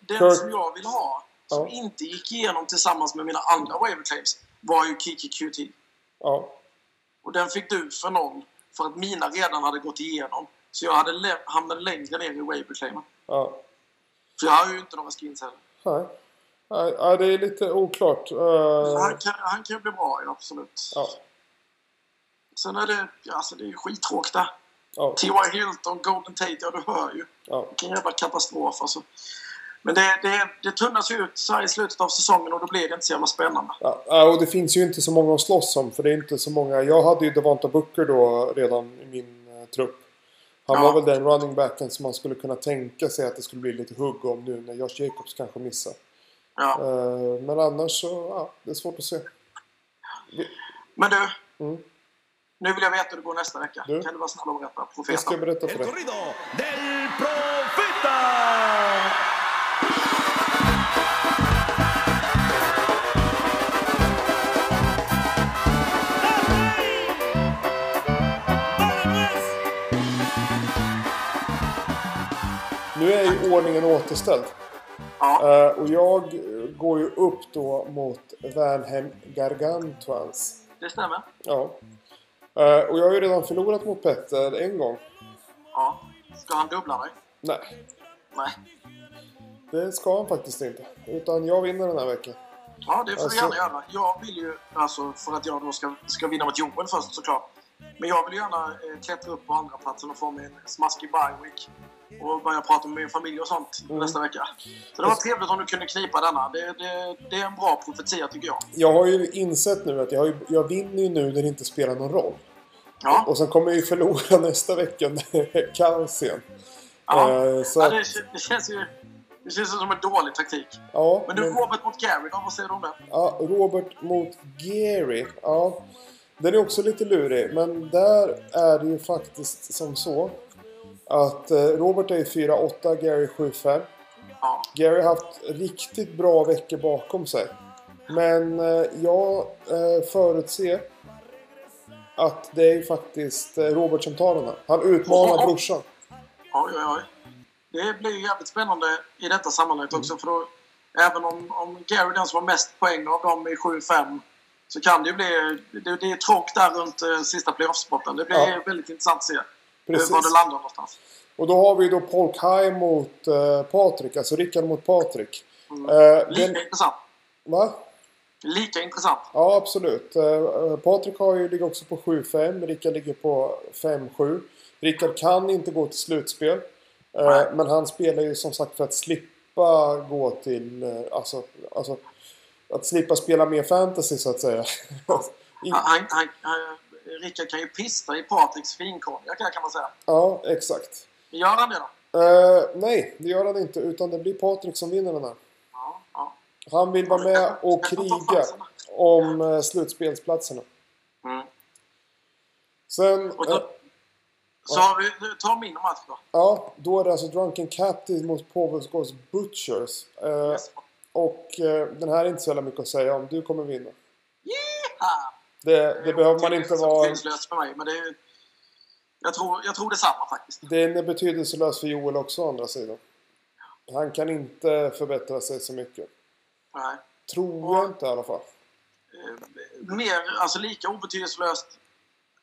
Den
Kirk-
som jag vill ha, som
Ja.
inte gick igenom tillsammans med mina andra waiver claims, var ju Kiki QT.
ja,
Och den fick du för noll, för att mina redan hade gått igenom. Så jag hade lä- hamnade längre ner i waiver claimen.
ja.
För jag har ju inte några skins heller.
Nej. Nej, nej, det är lite oklart. Eh,
Han kan, han kan ju bli bra, ja, absolut.
ja,
Sen är det, ja, alltså det är ju skittråkigt där.
ja,
T.Y. Hilton, Golden Tate, ja du hör ju.
ja,
Vilken jävla katastrof alltså. Men det, det, det tunnas ju ut så här i slutet av säsongen och då blir det inte så jävla spännande.
ja. ja. Och det finns ju inte så många att slåss om. För det är inte så många. Jag hade ju Devonta Booker då redan i min eh, trupp. Han
Ja.
var väl den running backen som man skulle kunna tänka sig att det skulle bli lite hugg om nu när Josh Jacobs kanske missar.
Ja.
Eh, men annars så, ja, det är svårt att se.
Men du.
Mm.
Nu vill jag veta hur det går nästa vecka.
Du?
Kan du vara snäll och berätta?
Jag ska
Profeten.
berätta för dig.
corrido del profeta.
Nu är ju ordningen återställd.
Ja.
Eh, och jag eh, går ju upp då mot Värnhem Gargantuans.
Det stämmer.
Ja. Eh, och jag har ju redan förlorat mot Petter en gång.
Ja. Ska han dubbla dig?
Nej,
Nej.
det ska han faktiskt inte. Utan jag vinner den här veckan.
Ja, det får
Alltså-
du gärna göra. Jag vill ju, alltså för att jag då ska, ska vinna mot Joel först såklart. Men jag vill gärna eh, klättra upp på andra platsen och få mig en smaskig bye week och börja prata med min familj och sånt
Mm.
nästa vecka. Så det var
Alltså-
trevligt om du kunde knipa denna. Det, det, det är en bra profetia tycker jag.
Jag har ju insett nu att jag, har ju, jag vinner ju nu när det inte spelar någon roll.
Ja,
Och sen kommer jag ju förlora nästa vecka när det är kaos igen.
ja.
Eh, så
ja
att,
det, det känns ju det känns ju som en dålig taktik.
ja,
Men du, Robert mot Gary då, vad säger du om det?
Ja, Robert mot Gary. Ja, den är också lite lurig. Men där är det ju faktiskt som så att eh, Robert är 4-8, Gary 7-5.
Ja.
Gary har haft riktigt bra veckor bakom sig. Men eh, jag eh, förutser att det är ju faktiskt eh, Robert som tar den här. Han utmanar brorsan.
Oj, oj, oj. Det blir ju jävligt spännande i detta sammanhanget
Mm.
också. För då, även om, om Gary är den som har mest poäng av dem i 7-5 så kan det ju bli... Det, det är tråk där runt eh, sista playoffspotten. Det blir
Ja.
väldigt intressant att se eh,
Precis.
var det landar någonstans.
Och då har vi ju då Polkheim mot eh, Patrik. Alltså Rickard mot Patrik. Eh,
Lika
den,
intressant.
va?
Lika intressant.
Ja, absolut. Eh, Patrik har ju, ligger också på 7-5. Rickard ligger på 5-7. Rickard kan inte gå till slutspel. Eh,
Nej.
Men han spelar ju som sagt för att slippa gå till... eh, Alltså, alltså att slippa spela mer fantasy så att säga. I-
Han, han, han, han, Rickard kan ju pissa i Patriks finkonjak här, kan man säga.
ja, exakt.
Gör han det då?
Eh, nej, det gör han inte. Utan det blir Patrik som vinner den här.
Ja, ja.
Han vill vara med och kriga om eh, slutspelsplatserna.
Mm.
Sen...
Och
eh,
då, så har vi, ta min match då.
Ja, då är det alltså Drunken Captain mot Påvelsgårds Butchers. Eh, Och eh, den här är inte så jävla mycket att säga om. Du kommer vinna.
Ah.
Det, det behöver man
Det är
inte
så
vara...
betydelselöst för mig, men det är, jag, tror, jag tror detsamma faktiskt.
Den är betydelselös för Joel också å andra sidan. Han kan inte förbättra sig så mycket.
Nej.
Tror jag inte i alla fall.
Eh, Mer, alltså lika obetydelselöst,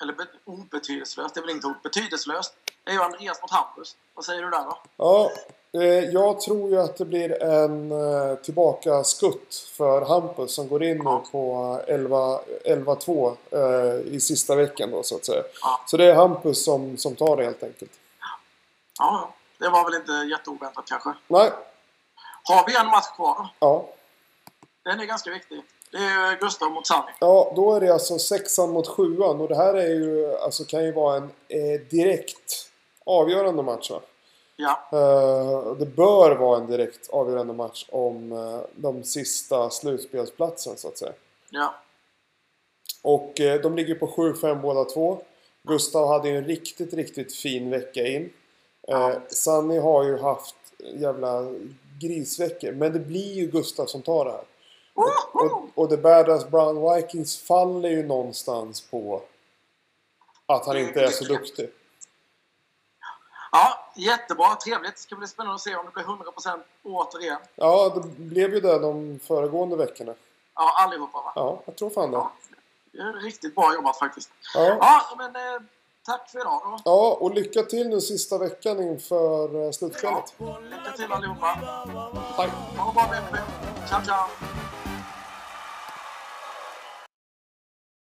eller be, obetydelselöst, det är väl inget ord, betydelselöst, är ju Andreas mot Hampus. Vad säger du där då?
Ja, eh, jag tror ju att det blir en eh, tillbaka skutt för Hampus som går in nu på eh, 11 11-2 eh, i sista veckan då så att säga.
Ja.
Så det är Hampus som, som tar det helt enkelt.
Ja, ja. det var väl inte jätteoväntat kanske.
Nej,
Har vi en match kvar då?
ja.
Den är ganska viktig. Det är ju Gustav mot Sanni.
Ja, då är det alltså sexan mot sjuan och det här är ju, alltså, kan ju vara en eh, direkt avgörande match. Va?
Ja,
Eh, det bör vara en direkt avgörande match om eh, de sista slutspelsplatsen så att säga.
ja.
Och eh, de ligger på 7-5 båda två. Gustav hade ju en riktigt, riktigt fin vecka in. Eh, Sanni har ju haft jävla grisveckor. Men det blir ju Gustav som tar det här. Och,
Woho!
och The Badass Brown Vikings faller ju någonstans på att han inte är så duktig.
Ja, jättebra, trevligt. Ska bli spännande att se om det blir 100% återigen.
Ja, det blev ju det de föregående veckorna.
Ja, allihopa va?
Ja, jag tror fan det.
Ja. Det är riktigt bra jobbat faktiskt.
Ja,
Ja, men eh, tack för idag då.
ja och lycka till nu sista veckan inför eh, slutspelet.
Lycka till allihopa.
Tack!
Ha det bra med er. Ciao, ciao.